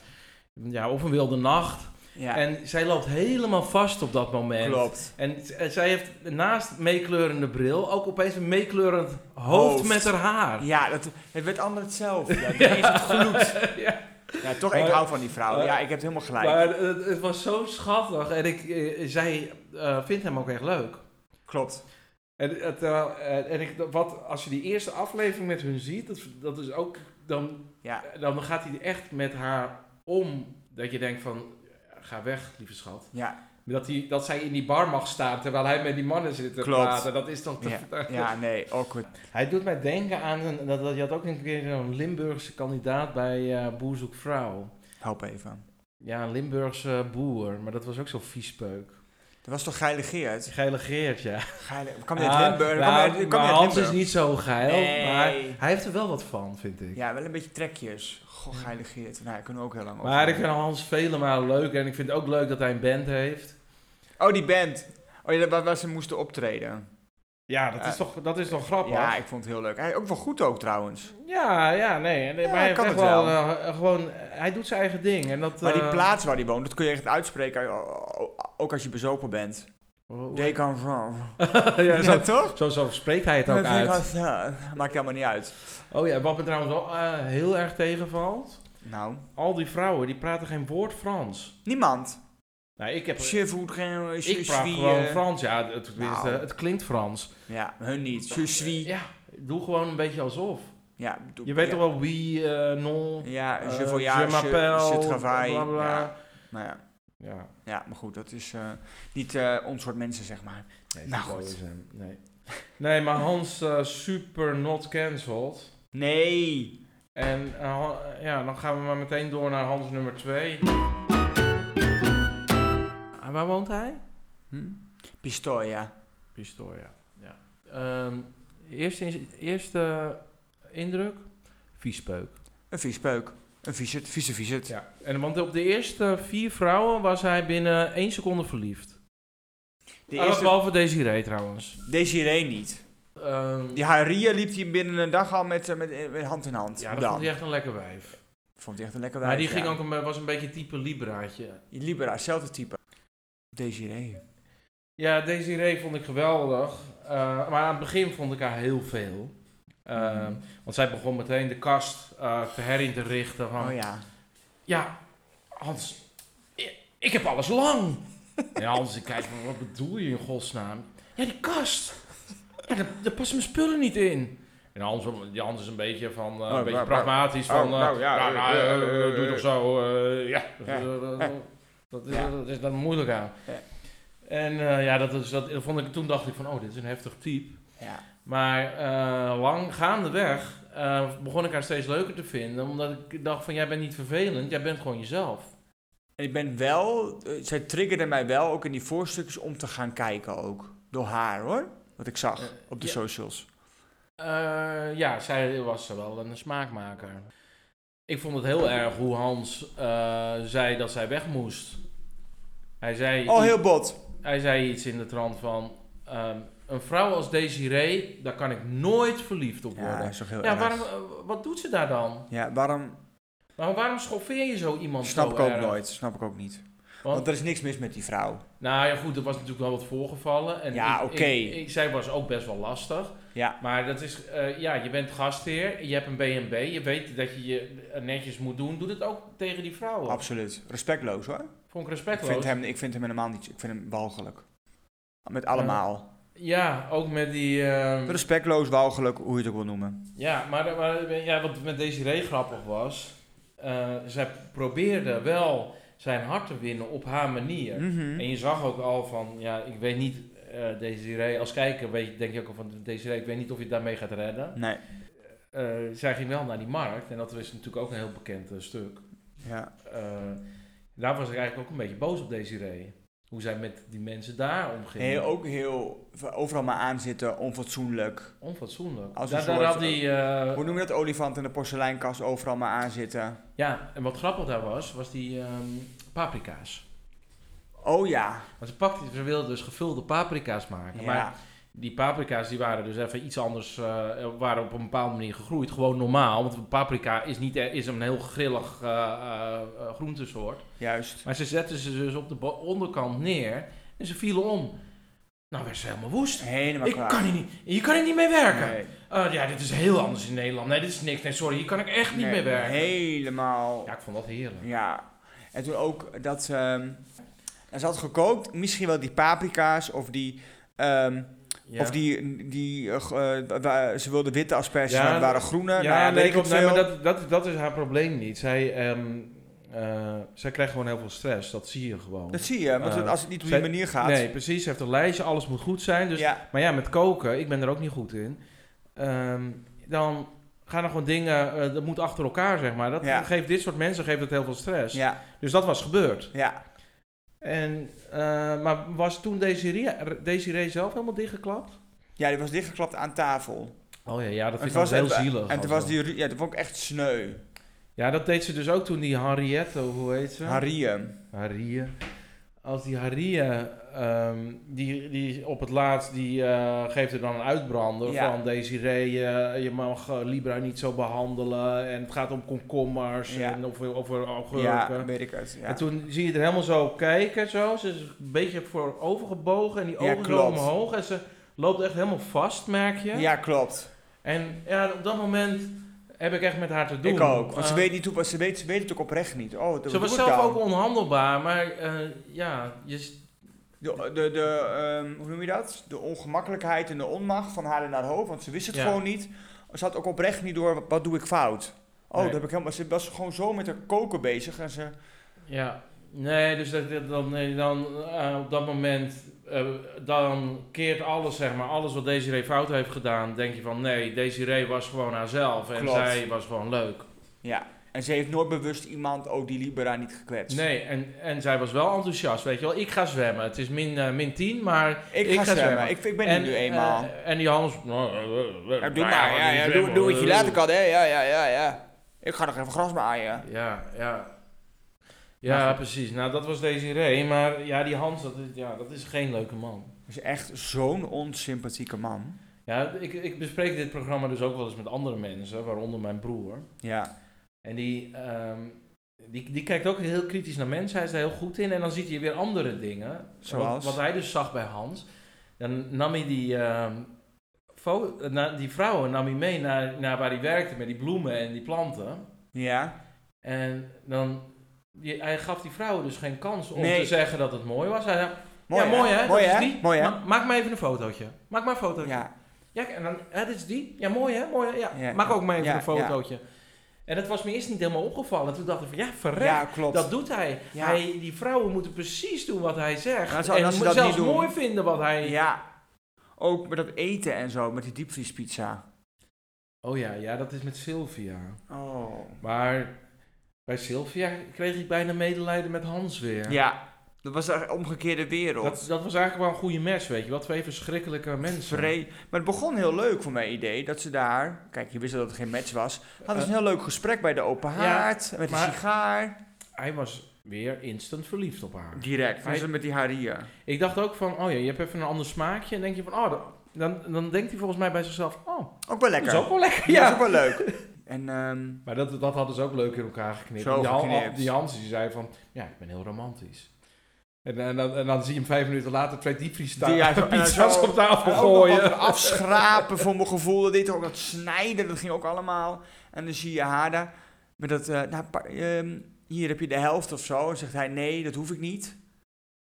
[SPEAKER 2] ja, of een wilde nacht.
[SPEAKER 1] Ja,
[SPEAKER 2] En zij loopt helemaal vast op dat moment.
[SPEAKER 1] klopt.
[SPEAKER 2] En z- en zij heeft naast meekleurende bril ook opeens een meekleurend hoofd,
[SPEAKER 1] Hoofd.
[SPEAKER 2] met haar haar.
[SPEAKER 1] Ja, dat, het werd allemaal hetzelfde. Ja, ineens het gloed.
[SPEAKER 2] Ja.
[SPEAKER 1] Ja, toch, ik
[SPEAKER 2] Maar-
[SPEAKER 1] hou van die vrouw.
[SPEAKER 2] maar-
[SPEAKER 1] Ja, ik heb het helemaal gelijk.
[SPEAKER 2] Maar het, het was zo schattig en ik, eh, zij eh, vindt hem ook echt leuk.
[SPEAKER 1] Klopt.
[SPEAKER 2] En, eh, terwijl, eh, en ik, wat, als je die eerste aflevering met hun ziet, dat, dat is ook, dan, eh,
[SPEAKER 1] Ja.
[SPEAKER 2] dan gaat hij echt met haar om. Dat je denkt van, eh, ga weg, lieve schat.
[SPEAKER 1] Ja,
[SPEAKER 2] Dat, hij, dat zij in die bar mag staan terwijl hij met die mannen zit te
[SPEAKER 1] Klopt.
[SPEAKER 2] praten. Dat is toch te...
[SPEAKER 1] ja, ja nee, awkward.
[SPEAKER 2] Hij doet mij denken aan, een, dat, dat- je had ook een keer een Limburgse kandidaat bij eh Boer zoekt vrouw.
[SPEAKER 1] Help even.
[SPEAKER 2] Ja, een Limburgse boer, maar dat was ook zo'n viespeuk.
[SPEAKER 1] Dat was toch Geile Geert?
[SPEAKER 2] Geile Geert, ja.
[SPEAKER 1] Geile, kwam je
[SPEAKER 2] Ah,
[SPEAKER 1] uit Limburg? Kwam
[SPEAKER 2] nou,
[SPEAKER 1] je uit- kwam
[SPEAKER 2] maar
[SPEAKER 1] je uit
[SPEAKER 2] Hans is
[SPEAKER 1] Limburg?
[SPEAKER 2] niet zo geil,
[SPEAKER 1] Nee.
[SPEAKER 2] maar hij heeft er wel wat van, vind ik.
[SPEAKER 1] Ja, wel een beetje trekjes. Goh, Geile Geert. Nou, daar kunnen we ook heel lang over.
[SPEAKER 2] Maar ik vind Hans vele malen leuk en ik vind het ook leuk dat hij een band heeft.
[SPEAKER 1] Oh, die band. Oh ja, waar, waar ze moesten optreden.
[SPEAKER 2] Ja, dat, is,
[SPEAKER 1] Eh,
[SPEAKER 2] toch, dat is toch grappig?
[SPEAKER 1] Ja, ik vond het heel leuk. Hij ook wel goed ook trouwens.
[SPEAKER 2] ja, ja, nee. nee,
[SPEAKER 1] Ja,
[SPEAKER 2] maar hij,
[SPEAKER 1] kan
[SPEAKER 2] heeft echt
[SPEAKER 1] het
[SPEAKER 2] wel,
[SPEAKER 1] wel.
[SPEAKER 2] eh, gewoon, hij doet zijn eigen ding. En dat,
[SPEAKER 1] Maar die
[SPEAKER 2] eh,
[SPEAKER 1] plaats waar hij woont, dat kun je echt uitspreken. o- o- Ook als je bezopen bent.
[SPEAKER 2] hoe-
[SPEAKER 1] They come from.
[SPEAKER 2] Oh, ja, zo,
[SPEAKER 1] toch?
[SPEAKER 2] zo, zo spreekt hij het ook
[SPEAKER 1] Dat vind ik
[SPEAKER 2] uit.
[SPEAKER 1] wel- ja, eh, Maakt helemaal niet uit.
[SPEAKER 2] Oh ja, wat me trouwens wel eh, heel erg tegenvalt.
[SPEAKER 1] Nou,
[SPEAKER 2] Al die vrouwen, die praten geen woord Frans.
[SPEAKER 1] niemand.
[SPEAKER 2] Nou, ik heb...
[SPEAKER 1] Je voelt geen... je
[SPEAKER 2] Ik praat
[SPEAKER 1] suis,
[SPEAKER 2] gewoon
[SPEAKER 1] eh,
[SPEAKER 2] Frans. Ja, het, het,
[SPEAKER 1] Nou.
[SPEAKER 2] het klinkt Frans.
[SPEAKER 1] Ja, hun niet. Je suis.
[SPEAKER 2] Ja, doe gewoon een beetje alsof.
[SPEAKER 1] Ja, doe-
[SPEAKER 2] Je weet
[SPEAKER 1] ja.
[SPEAKER 2] toch wel wie, eh, non...
[SPEAKER 1] Ja,
[SPEAKER 2] eh,
[SPEAKER 1] je voyage,
[SPEAKER 2] m'appelle,
[SPEAKER 1] je travail.
[SPEAKER 2] bla, bla, bla.
[SPEAKER 1] Ja, nou ja.
[SPEAKER 2] Ja.
[SPEAKER 1] ja, maar goed, dat is eh, niet eh, ons soort mensen, zeg maar.
[SPEAKER 2] Nee,
[SPEAKER 1] Nou,
[SPEAKER 2] dat
[SPEAKER 1] goed.
[SPEAKER 2] is hem. Nee. nee, maar Hans eh, super not cancelled.
[SPEAKER 1] Nee.
[SPEAKER 2] En eh, Han- ja, dan gaan we maar meteen door naar Hans nummer 2. En Ah, waar woont hij?
[SPEAKER 1] Hm? Pistoia.
[SPEAKER 2] Pistoia. Ja. Ehm, eerste, in- eerste indruk? Viespeuk.
[SPEAKER 1] Een vies peuk. Een vieze, vieze, vieze.
[SPEAKER 2] Ja. En, want op de eerste vier vrouwen was hij binnen één seconde verliefd.
[SPEAKER 1] De
[SPEAKER 2] Ah,
[SPEAKER 1] eerste,
[SPEAKER 2] Behalve Desiree trouwens.
[SPEAKER 1] Desiree niet.
[SPEAKER 2] Ehm,
[SPEAKER 1] Die Haria liep hij binnen een dag al met, eh, met, eh, met hand in hand.
[SPEAKER 2] ja, dat
[SPEAKER 1] Dan.
[SPEAKER 2] vond hij echt een lekker wijf.
[SPEAKER 1] Vond hij echt een lekker
[SPEAKER 2] Maar
[SPEAKER 1] wijf.
[SPEAKER 2] die ging
[SPEAKER 1] ja.
[SPEAKER 2] ook een, was een beetje type Libraatje.
[SPEAKER 1] Libera, hetzelfde type. Desiree.
[SPEAKER 2] Ja, Desiree vond ik geweldig. Eh, maar aan het begin vond ik haar heel veel. Eh,
[SPEAKER 1] Mhm.
[SPEAKER 2] Want zij begon meteen de kast eh, te herin te richten. Van,
[SPEAKER 1] Oh
[SPEAKER 2] ja.
[SPEAKER 1] ja.
[SPEAKER 2] Hans, ik, ik heb alles lang. en Hans, ik kijk, van, wat bedoel je in godsnaam? Ja, die kast. Ja, daar, daar passen mijn spullen niet in. En Hans, die Hans is een beetje van, eh,
[SPEAKER 1] Oh,
[SPEAKER 2] een beetje
[SPEAKER 1] maar-
[SPEAKER 2] pragmatisch
[SPEAKER 1] maar-
[SPEAKER 2] van,
[SPEAKER 1] oh,
[SPEAKER 2] eh,
[SPEAKER 1] nou ja,
[SPEAKER 2] ja,
[SPEAKER 1] eh,
[SPEAKER 2] nou,
[SPEAKER 1] eh,
[SPEAKER 2] eh,
[SPEAKER 1] eh,
[SPEAKER 2] doe toch zo, eh, ja.
[SPEAKER 1] Ja,
[SPEAKER 2] Dat-
[SPEAKER 1] eh.
[SPEAKER 2] Dat is,
[SPEAKER 1] Ja.
[SPEAKER 2] dat is dan moeilijk aan.
[SPEAKER 1] Ja.
[SPEAKER 2] En eh, ja, dat is, dat, vond ik, toen dacht ik van, oh, dit is een heftig type.
[SPEAKER 1] Ja.
[SPEAKER 2] Maar eh, lang gaandeweg eh, begon ik haar steeds leuker te vinden. Omdat ik dacht van, jij bent niet vervelend, jij bent gewoon jezelf.
[SPEAKER 1] En ik ben wel, eh, zij triggerde mij wel ook in die voorstukjes om te gaan kijken ook. Door haar hoor, wat ik zag
[SPEAKER 2] Eh,
[SPEAKER 1] op de
[SPEAKER 2] ja.
[SPEAKER 1] socials.
[SPEAKER 2] Eh, ja, zij was wel een smaakmaker. Ik vond het heel erg hoe Hans eh, zei dat zij weg moest. Hij zei,
[SPEAKER 1] Oh, heel bot.
[SPEAKER 2] hij zei iets in de trant van... ehm, een vrouw als Desiree, daar kan ik nooit verliefd op
[SPEAKER 1] Ja, dat
[SPEAKER 2] worden.
[SPEAKER 1] is toch heel
[SPEAKER 2] Ja,
[SPEAKER 1] erg.
[SPEAKER 2] waarom, eh, wat doet ze daar dan?
[SPEAKER 1] Ja, waarom?
[SPEAKER 2] Waarom, waarom schoffeer je zo iemand
[SPEAKER 1] Snap
[SPEAKER 2] zo
[SPEAKER 1] ik ook
[SPEAKER 2] erg?
[SPEAKER 1] nooit. Snap ik ook niet. Want, er is niks mis met die vrouw.
[SPEAKER 2] Nou ja, goed, er was natuurlijk wel wat voorgevallen. En
[SPEAKER 1] Ja,
[SPEAKER 2] ik- ik-
[SPEAKER 1] oké.
[SPEAKER 2] ik- Zij was ook best wel lastig.
[SPEAKER 1] Ja.
[SPEAKER 2] Maar dat is, eh, ja, je bent gastheer, je hebt een B&B, je weet dat je je netjes moet doen. Doe dat ook tegen die vrouwen.
[SPEAKER 1] Absoluut. Respectloos hoor.
[SPEAKER 2] Vond ik
[SPEAKER 1] Ik
[SPEAKER 2] respectloos.
[SPEAKER 1] vind, hem, ik vind hem helemaal niet. Ik vind hem walgelijk. Met allemaal.
[SPEAKER 2] Ja, ook met die... ehm,
[SPEAKER 1] Respectloos, walgelijk, hoe je het ook wil noemen.
[SPEAKER 2] Ja, maar, maar ja, wat met Desiree grappig was, eh, zij probeerde wel zijn hart te winnen op haar manier.
[SPEAKER 1] Mhm.
[SPEAKER 2] En je zag ook al van, ja, ik weet niet, eh Desiree, als kijker weet, je- denk je ook al van, Desiree, ik weet niet of je het daarmee gaat redden.
[SPEAKER 1] Nee.
[SPEAKER 2] Eh, zij ging wel naar die markt en dat is natuurlijk ook een heel bekend eh, stuk.
[SPEAKER 1] Ja.
[SPEAKER 2] Eh, daar was ik eigenlijk ook een beetje boos op Desiree. Hoe zij met die mensen daar omging.
[SPEAKER 1] Heel, ook heel overal maar aanzitten, onfatsoenlijk.
[SPEAKER 2] Onfatsoenlijk.
[SPEAKER 1] Als een
[SPEAKER 2] daar, daar
[SPEAKER 1] soort-
[SPEAKER 2] had die, eh,
[SPEAKER 1] Hoe noem je dat? Olifant in de porseleinkast, overal maar aanzitten.
[SPEAKER 2] ja, en wat grappig daar was, was die ehm, paprika's.
[SPEAKER 1] Oh ja.
[SPEAKER 2] Want ze, pakte, ze wilde dus gevulde paprika's maken. Maar
[SPEAKER 1] Ja.
[SPEAKER 2] Die paprika's die waren dus even iets anders, eh, waren op een bepaalde manier gegroeid. Gewoon normaal, want paprika is, niet, eh, is een heel grillig eh, eh, eh, groentesoort.
[SPEAKER 1] Juist.
[SPEAKER 2] Maar ze zetten ze dus op de bo- onderkant neer en ze vielen om. Nou werd ze helemaal woest.
[SPEAKER 1] Helemaal
[SPEAKER 2] Ik
[SPEAKER 1] klaar.
[SPEAKER 2] kan hier niet, hier kan ik niet mee werken.
[SPEAKER 1] Nee.
[SPEAKER 2] Eh, ja, dit is heel anders in Nederland. Nee, dit is niks. Nee, sorry, hier kan ik echt niet
[SPEAKER 1] Nee,
[SPEAKER 2] mee werken.
[SPEAKER 1] Helemaal.
[SPEAKER 2] Ja, ik vond dat heerlijk.
[SPEAKER 1] Ja. En toen ook dat ze... ehm, en ze had gekookt, misschien wel die paprika's of die... ehm,
[SPEAKER 2] Ja.
[SPEAKER 1] Of die, die eh, g- eh, wa- wa- ze wilde witte asperges,
[SPEAKER 2] Ja,
[SPEAKER 1] maar het waren groene.
[SPEAKER 2] Ja,
[SPEAKER 1] nou ja,
[SPEAKER 2] nee,
[SPEAKER 1] weet ik
[SPEAKER 2] klopt.
[SPEAKER 1] het
[SPEAKER 2] Nee,
[SPEAKER 1] veel.
[SPEAKER 2] maar dat, dat, dat is haar probleem niet. Zij, ehm, eh, zij krijgt gewoon heel veel stress. Dat zie je gewoon.
[SPEAKER 1] Dat zie je, want
[SPEAKER 2] Eh,
[SPEAKER 1] als het niet op die
[SPEAKER 2] zij-
[SPEAKER 1] manier gaat.
[SPEAKER 2] Nee, precies. Ze heeft een lijstje, alles moet goed zijn. Dus,
[SPEAKER 1] ja,
[SPEAKER 2] Maar ja, met koken, ik ben er ook niet goed in. Ehm, dan gaan er gewoon dingen, eh, dat moet achter elkaar, zeg maar. Dat
[SPEAKER 1] Ja.
[SPEAKER 2] geeft dit soort mensen geeft het heel veel stress.
[SPEAKER 1] ja,
[SPEAKER 2] Dus dat was gebeurd.
[SPEAKER 1] ja.
[SPEAKER 2] En, eh, maar was toen Desiree, Desiree zelf helemaal dichtgeklapt?
[SPEAKER 1] Ja, die was dichtgeklapt aan tafel.
[SPEAKER 2] Oh ja, ja dat
[SPEAKER 1] En
[SPEAKER 2] vind ik
[SPEAKER 1] toen
[SPEAKER 2] was heel
[SPEAKER 1] en-
[SPEAKER 2] zielig.
[SPEAKER 1] En
[SPEAKER 2] als
[SPEAKER 1] toen was
[SPEAKER 2] dat.
[SPEAKER 1] die, ru- ja, dat vond ik echt sneu.
[SPEAKER 2] Ja, dat deed ze dus ook toen die Henriette, hoe heet ze?
[SPEAKER 1] Hariem.
[SPEAKER 2] Harieën. Als die Harieën, ehm, die, die op het laatst, die eh, geeft er dan een uitbrander
[SPEAKER 1] Ja.
[SPEAKER 2] van Desiree, eh, je mag eh, Libra niet zo behandelen en het gaat om komkommers
[SPEAKER 1] Ja.
[SPEAKER 2] en over, over augurken.
[SPEAKER 1] Ja, weet ik het. Ja,
[SPEAKER 2] En toen zie je er helemaal zo kijken, zo. ze is een beetje voor overgebogen en die
[SPEAKER 1] Ja,
[SPEAKER 2] ogen zo
[SPEAKER 1] klopt.
[SPEAKER 2] omhoog en ze loopt echt helemaal vast, merk je.
[SPEAKER 1] ja klopt.
[SPEAKER 2] En ja, op dat moment heb ik echt met haar te doen.
[SPEAKER 1] Ik ook. Want ze,
[SPEAKER 2] Eh,
[SPEAKER 1] weet niet hoe, want ze, weet, ze weet het ook oprecht niet. Oh, dat
[SPEAKER 2] ze was zelf ook onhandelbaar, maar eh, ja, je,
[SPEAKER 1] De, de, de, ehm, hoe noem je dat? De ongemakkelijkheid en de onmacht van haar en haar hoofd. Want ze wist het
[SPEAKER 2] Ja.
[SPEAKER 1] gewoon niet. Ze had ook oprecht niet door, wat, wat doe ik fout? Oh,
[SPEAKER 2] Nee.
[SPEAKER 1] dat heb ik helemaal... Ze was gewoon zo met haar koken bezig. En ze,
[SPEAKER 2] Ja, nee, dus dat, dat- dan, nee, dan eh, op dat moment, eh, dan keert alles, zeg maar, alles wat Desiree fout heeft gedaan, denk je van nee, Desiree was gewoon haarzelf en
[SPEAKER 1] Klopt.
[SPEAKER 2] zij was gewoon leuk.
[SPEAKER 1] ja. En ze heeft nooit bewust iemand, ook die Libera, niet gekwetst.
[SPEAKER 2] Nee, en, en zij was wel enthousiast, weet je wel. Ik ga zwemmen, het is min, eh, min 10, maar...
[SPEAKER 1] Ik, ga zwemmen. Ik, ik ben
[SPEAKER 2] en,
[SPEAKER 1] hier nu eenmaal.
[SPEAKER 2] eh, en die Hans... Nou, eh, eh,
[SPEAKER 1] Ja,
[SPEAKER 2] nou
[SPEAKER 1] doe maar,
[SPEAKER 2] wat
[SPEAKER 1] ja,
[SPEAKER 2] die
[SPEAKER 1] ja, doe,
[SPEAKER 2] zwemmen,
[SPEAKER 1] doe wat je
[SPEAKER 2] eh,
[SPEAKER 1] later kan, hè. Ja, ja, ja, ja. Ik ga nog even gras maaien.
[SPEAKER 2] Ja, ja.
[SPEAKER 1] Maar
[SPEAKER 2] Ja,
[SPEAKER 1] goed.
[SPEAKER 2] precies. Nou, dat was Desiree, maar ja, die Hans, dat is, ja, dat is geen leuke man.
[SPEAKER 1] Dat is echt zo'n onsympathieke man.
[SPEAKER 2] Ja, ik, ik bespreek dit programma dus ook wel eens met andere mensen, waaronder mijn broer.
[SPEAKER 1] Ja.
[SPEAKER 2] En die, ehm, die, die kijkt ook heel kritisch naar mensen, hij is daar heel goed in. En dan ziet hij weer andere dingen, Wat,
[SPEAKER 1] Zoals?
[SPEAKER 2] wat hij dus zag bij Hans. Dan nam hij die, ehm, fo- eh, na- die vrouwen nam hij mee naar, naar waar hij werkte met die bloemen en die planten.
[SPEAKER 1] Ja.
[SPEAKER 2] En dan, die- hij gaf die vrouwen dus geen kans om
[SPEAKER 1] Nee.
[SPEAKER 2] te zeggen dat het mooi was. Hij zei,
[SPEAKER 1] Mooi,
[SPEAKER 2] ja, mooi hè, dat
[SPEAKER 1] Mooi,
[SPEAKER 2] is
[SPEAKER 1] hè?
[SPEAKER 2] die.
[SPEAKER 1] Mooi, hè?
[SPEAKER 2] Ma- maak maar even een fotootje. Maak maar een fotootje.
[SPEAKER 1] Ja.
[SPEAKER 2] Ja, en dan, hè, dit is die. Ja, mooi hè, mooi hè. Ja,
[SPEAKER 1] Ja,
[SPEAKER 2] maak ook maar even
[SPEAKER 1] ja,
[SPEAKER 2] een fotootje. En dat was me eerst niet helemaal opgevallen. Toen dacht ik van, ja, verrek,
[SPEAKER 1] Ja, klopt.
[SPEAKER 2] dat doet hij.
[SPEAKER 1] Ja.
[SPEAKER 2] hij. Die vrouwen moeten precies doen wat hij zegt.
[SPEAKER 1] Maar zou-
[SPEAKER 2] en
[SPEAKER 1] als ze
[SPEAKER 2] moet
[SPEAKER 1] dat
[SPEAKER 2] zelfs
[SPEAKER 1] niet doen-
[SPEAKER 2] mooi vinden wat hij...
[SPEAKER 1] Ja. Ook met dat eten en zo, met die diepvriespizza.
[SPEAKER 2] Oh ja, ja, dat is met Sylvia.
[SPEAKER 1] Oh.
[SPEAKER 2] Maar bij Sylvia kreeg ik bijna medelijden met Hans weer.
[SPEAKER 1] Ja. Dat was een omgekeerde wereld.
[SPEAKER 2] Dat, dat was eigenlijk wel een goede match, weet je wel. Twee verschrikkelijke mensen.
[SPEAKER 1] Vre- maar het begon heel leuk voor mijn idee dat ze daar, kijk, je wist al dat het geen match was, hadden ze een heel leuk gesprek bij de open
[SPEAKER 2] Eh. Ja,
[SPEAKER 1] haard, met een
[SPEAKER 2] maar-
[SPEAKER 1] sigaar.
[SPEAKER 2] Hij was weer instant verliefd op haar.
[SPEAKER 1] Direct, dus
[SPEAKER 2] Hij-
[SPEAKER 1] met die harieën.
[SPEAKER 2] Ik dacht ook van, oh ja, je hebt even een ander smaakje. En denk je van, oh, dat- dan, dan denkt hij volgens mij bij zichzelf, oh,
[SPEAKER 1] Ook wel lekker.
[SPEAKER 2] dat is ook wel lekker.
[SPEAKER 1] Ja, dat is
[SPEAKER 2] Ja.
[SPEAKER 1] ook wel leuk. En ehm,
[SPEAKER 2] Maar dat, dat hadden ze ook leuk in elkaar geknipt.
[SPEAKER 1] Zo
[SPEAKER 2] die, Han-
[SPEAKER 1] geknipt.
[SPEAKER 2] die Hans die zei van, ja, ik ben heel romantisch. En, en, dan, en dan zie je hem vijf minuten later twee
[SPEAKER 1] Die- ja,
[SPEAKER 2] diepvriespizza's
[SPEAKER 1] en dan
[SPEAKER 2] pizza's
[SPEAKER 1] zo-
[SPEAKER 2] op tafel
[SPEAKER 1] en ook nog wat
[SPEAKER 2] gooien.
[SPEAKER 1] afschrapen voor mijn gevoel, dat dit ook dat snijden, dat ging ook allemaal. En dan zie je haar daar, met dat, eh, nou, pa- ehm, hier heb je de helft of zo. En zegt hij, nee, dat hoef ik niet.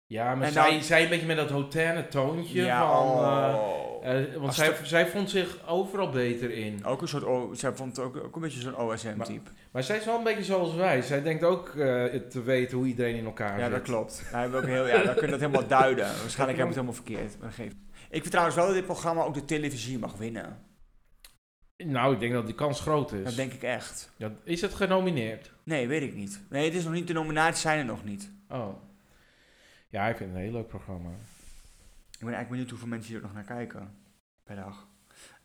[SPEAKER 2] Ja, maar
[SPEAKER 1] En
[SPEAKER 2] zij,
[SPEAKER 1] dan-
[SPEAKER 2] zij een beetje met dat hoterne toontje van... eh,
[SPEAKER 1] oh.
[SPEAKER 2] Eh, want
[SPEAKER 1] Als
[SPEAKER 2] zij,
[SPEAKER 1] de-
[SPEAKER 2] zij vond zich overal beter in.
[SPEAKER 1] Ook een soort, o- zij vond het ook, ook een beetje zo'n OSM-type.
[SPEAKER 2] Maar zij is wel een beetje zoals wij. Zij denkt ook eh, het te weten hoe iedereen in elkaar
[SPEAKER 1] Ja,
[SPEAKER 2] zit.
[SPEAKER 1] dat klopt. Wij hebben ook heel, ja, dan kun je dat helemaal duiden. Waarschijnlijk hebben we het helemaal verkeerd. Maar dat geeft. Ik vind trouwens wel dat dit programma ook de televisie mag winnen.
[SPEAKER 2] Nou, ik denk dat die kans groot is.
[SPEAKER 1] Dat denk ik echt.
[SPEAKER 2] Ja, is het genomineerd?
[SPEAKER 1] Nee, weet ik niet. Nee, het is nog niet, de nominaties zijn er nog niet.
[SPEAKER 2] Oh. Ja, ik vind het een heel leuk programma.
[SPEAKER 1] Ik ben eigenlijk benieuwd hoeveel mensen hier ook nog naar kijken per dag.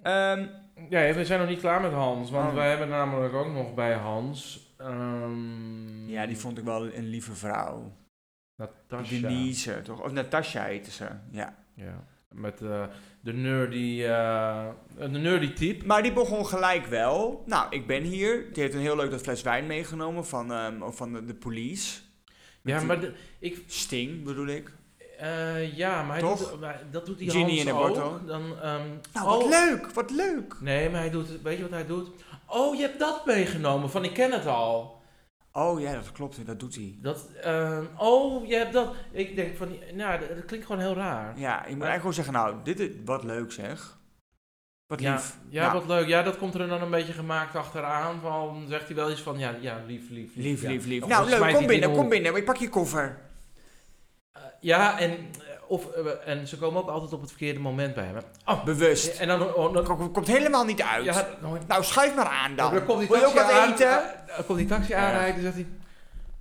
[SPEAKER 1] Ehm,
[SPEAKER 2] Ja, we zijn nog niet klaar met Hans, want
[SPEAKER 1] Oh.
[SPEAKER 2] wij hebben namelijk ook nog bij Hans... ehm,
[SPEAKER 1] ja, die vond ik wel een lieve vrouw.
[SPEAKER 2] Natasha.
[SPEAKER 1] Denise, toch? Of Natasha heette ze. Ja.
[SPEAKER 2] Ja, met eh, de nerdy... eh, de nerdy type.
[SPEAKER 1] Maar die begon gelijk wel. Nou, ik ben hier. Die heeft een heel leuk dat fles wijn meegenomen van, ehm, van de, de police. Met
[SPEAKER 2] Ja,
[SPEAKER 1] die-
[SPEAKER 2] maar, de- ik,
[SPEAKER 1] Sting bedoel ik.
[SPEAKER 2] eh, ja, maar hij
[SPEAKER 1] Toch?
[SPEAKER 2] doet- maar dat doet die
[SPEAKER 1] Ginny
[SPEAKER 2] Hans
[SPEAKER 1] in een
[SPEAKER 2] ook.
[SPEAKER 1] bottle.
[SPEAKER 2] Dan, ehm,
[SPEAKER 1] Nou, wat
[SPEAKER 2] oh,
[SPEAKER 1] leuk, wat leuk.
[SPEAKER 2] Nee, maar hij doet... het- Weet je wat hij doet? Oh, je hebt dat meegenomen, van ik ken het al.
[SPEAKER 1] Oh ja, dat klopt, dat doet hij.
[SPEAKER 2] Dat, ehm, oh, je hebt dat. Ik denk van, nou, dat, dat klinkt gewoon heel raar.
[SPEAKER 1] Ja, ik moet eigenlijk gewoon zeggen, nou, dit is wat leuk zeg. Wat
[SPEAKER 2] ja,
[SPEAKER 1] lief. Nou,
[SPEAKER 2] ja, wat leuk. Ja, dat komt er dan een beetje gemaakt achteraan. Van, zegt hij wel iets van, ja, ja lief, lief, lief.
[SPEAKER 1] Lief,
[SPEAKER 2] ja.
[SPEAKER 1] lief, lief.
[SPEAKER 2] Of
[SPEAKER 1] Nou,
[SPEAKER 2] dan
[SPEAKER 1] leuk,
[SPEAKER 2] smijt
[SPEAKER 1] kom
[SPEAKER 2] hij het in
[SPEAKER 1] binnen,
[SPEAKER 2] de
[SPEAKER 1] kom
[SPEAKER 2] hoek.
[SPEAKER 1] binnen. Ik pak je koffer.
[SPEAKER 2] Eh, ja, en, eh, of, eh, en ze komen ook altijd op het verkeerde moment bij hem. Oh,
[SPEAKER 1] Bewust.
[SPEAKER 2] en dan... oh, dan-
[SPEAKER 1] Kom- Komt helemaal niet uit.
[SPEAKER 2] ja, dan-
[SPEAKER 1] Nou, schuif maar aan dan.
[SPEAKER 2] dan komt die
[SPEAKER 1] Wil je ook
[SPEAKER 2] taxi
[SPEAKER 1] wat
[SPEAKER 2] aan-
[SPEAKER 1] eten?
[SPEAKER 2] eh, Dan komt die taxi aanrijden en zegt hij...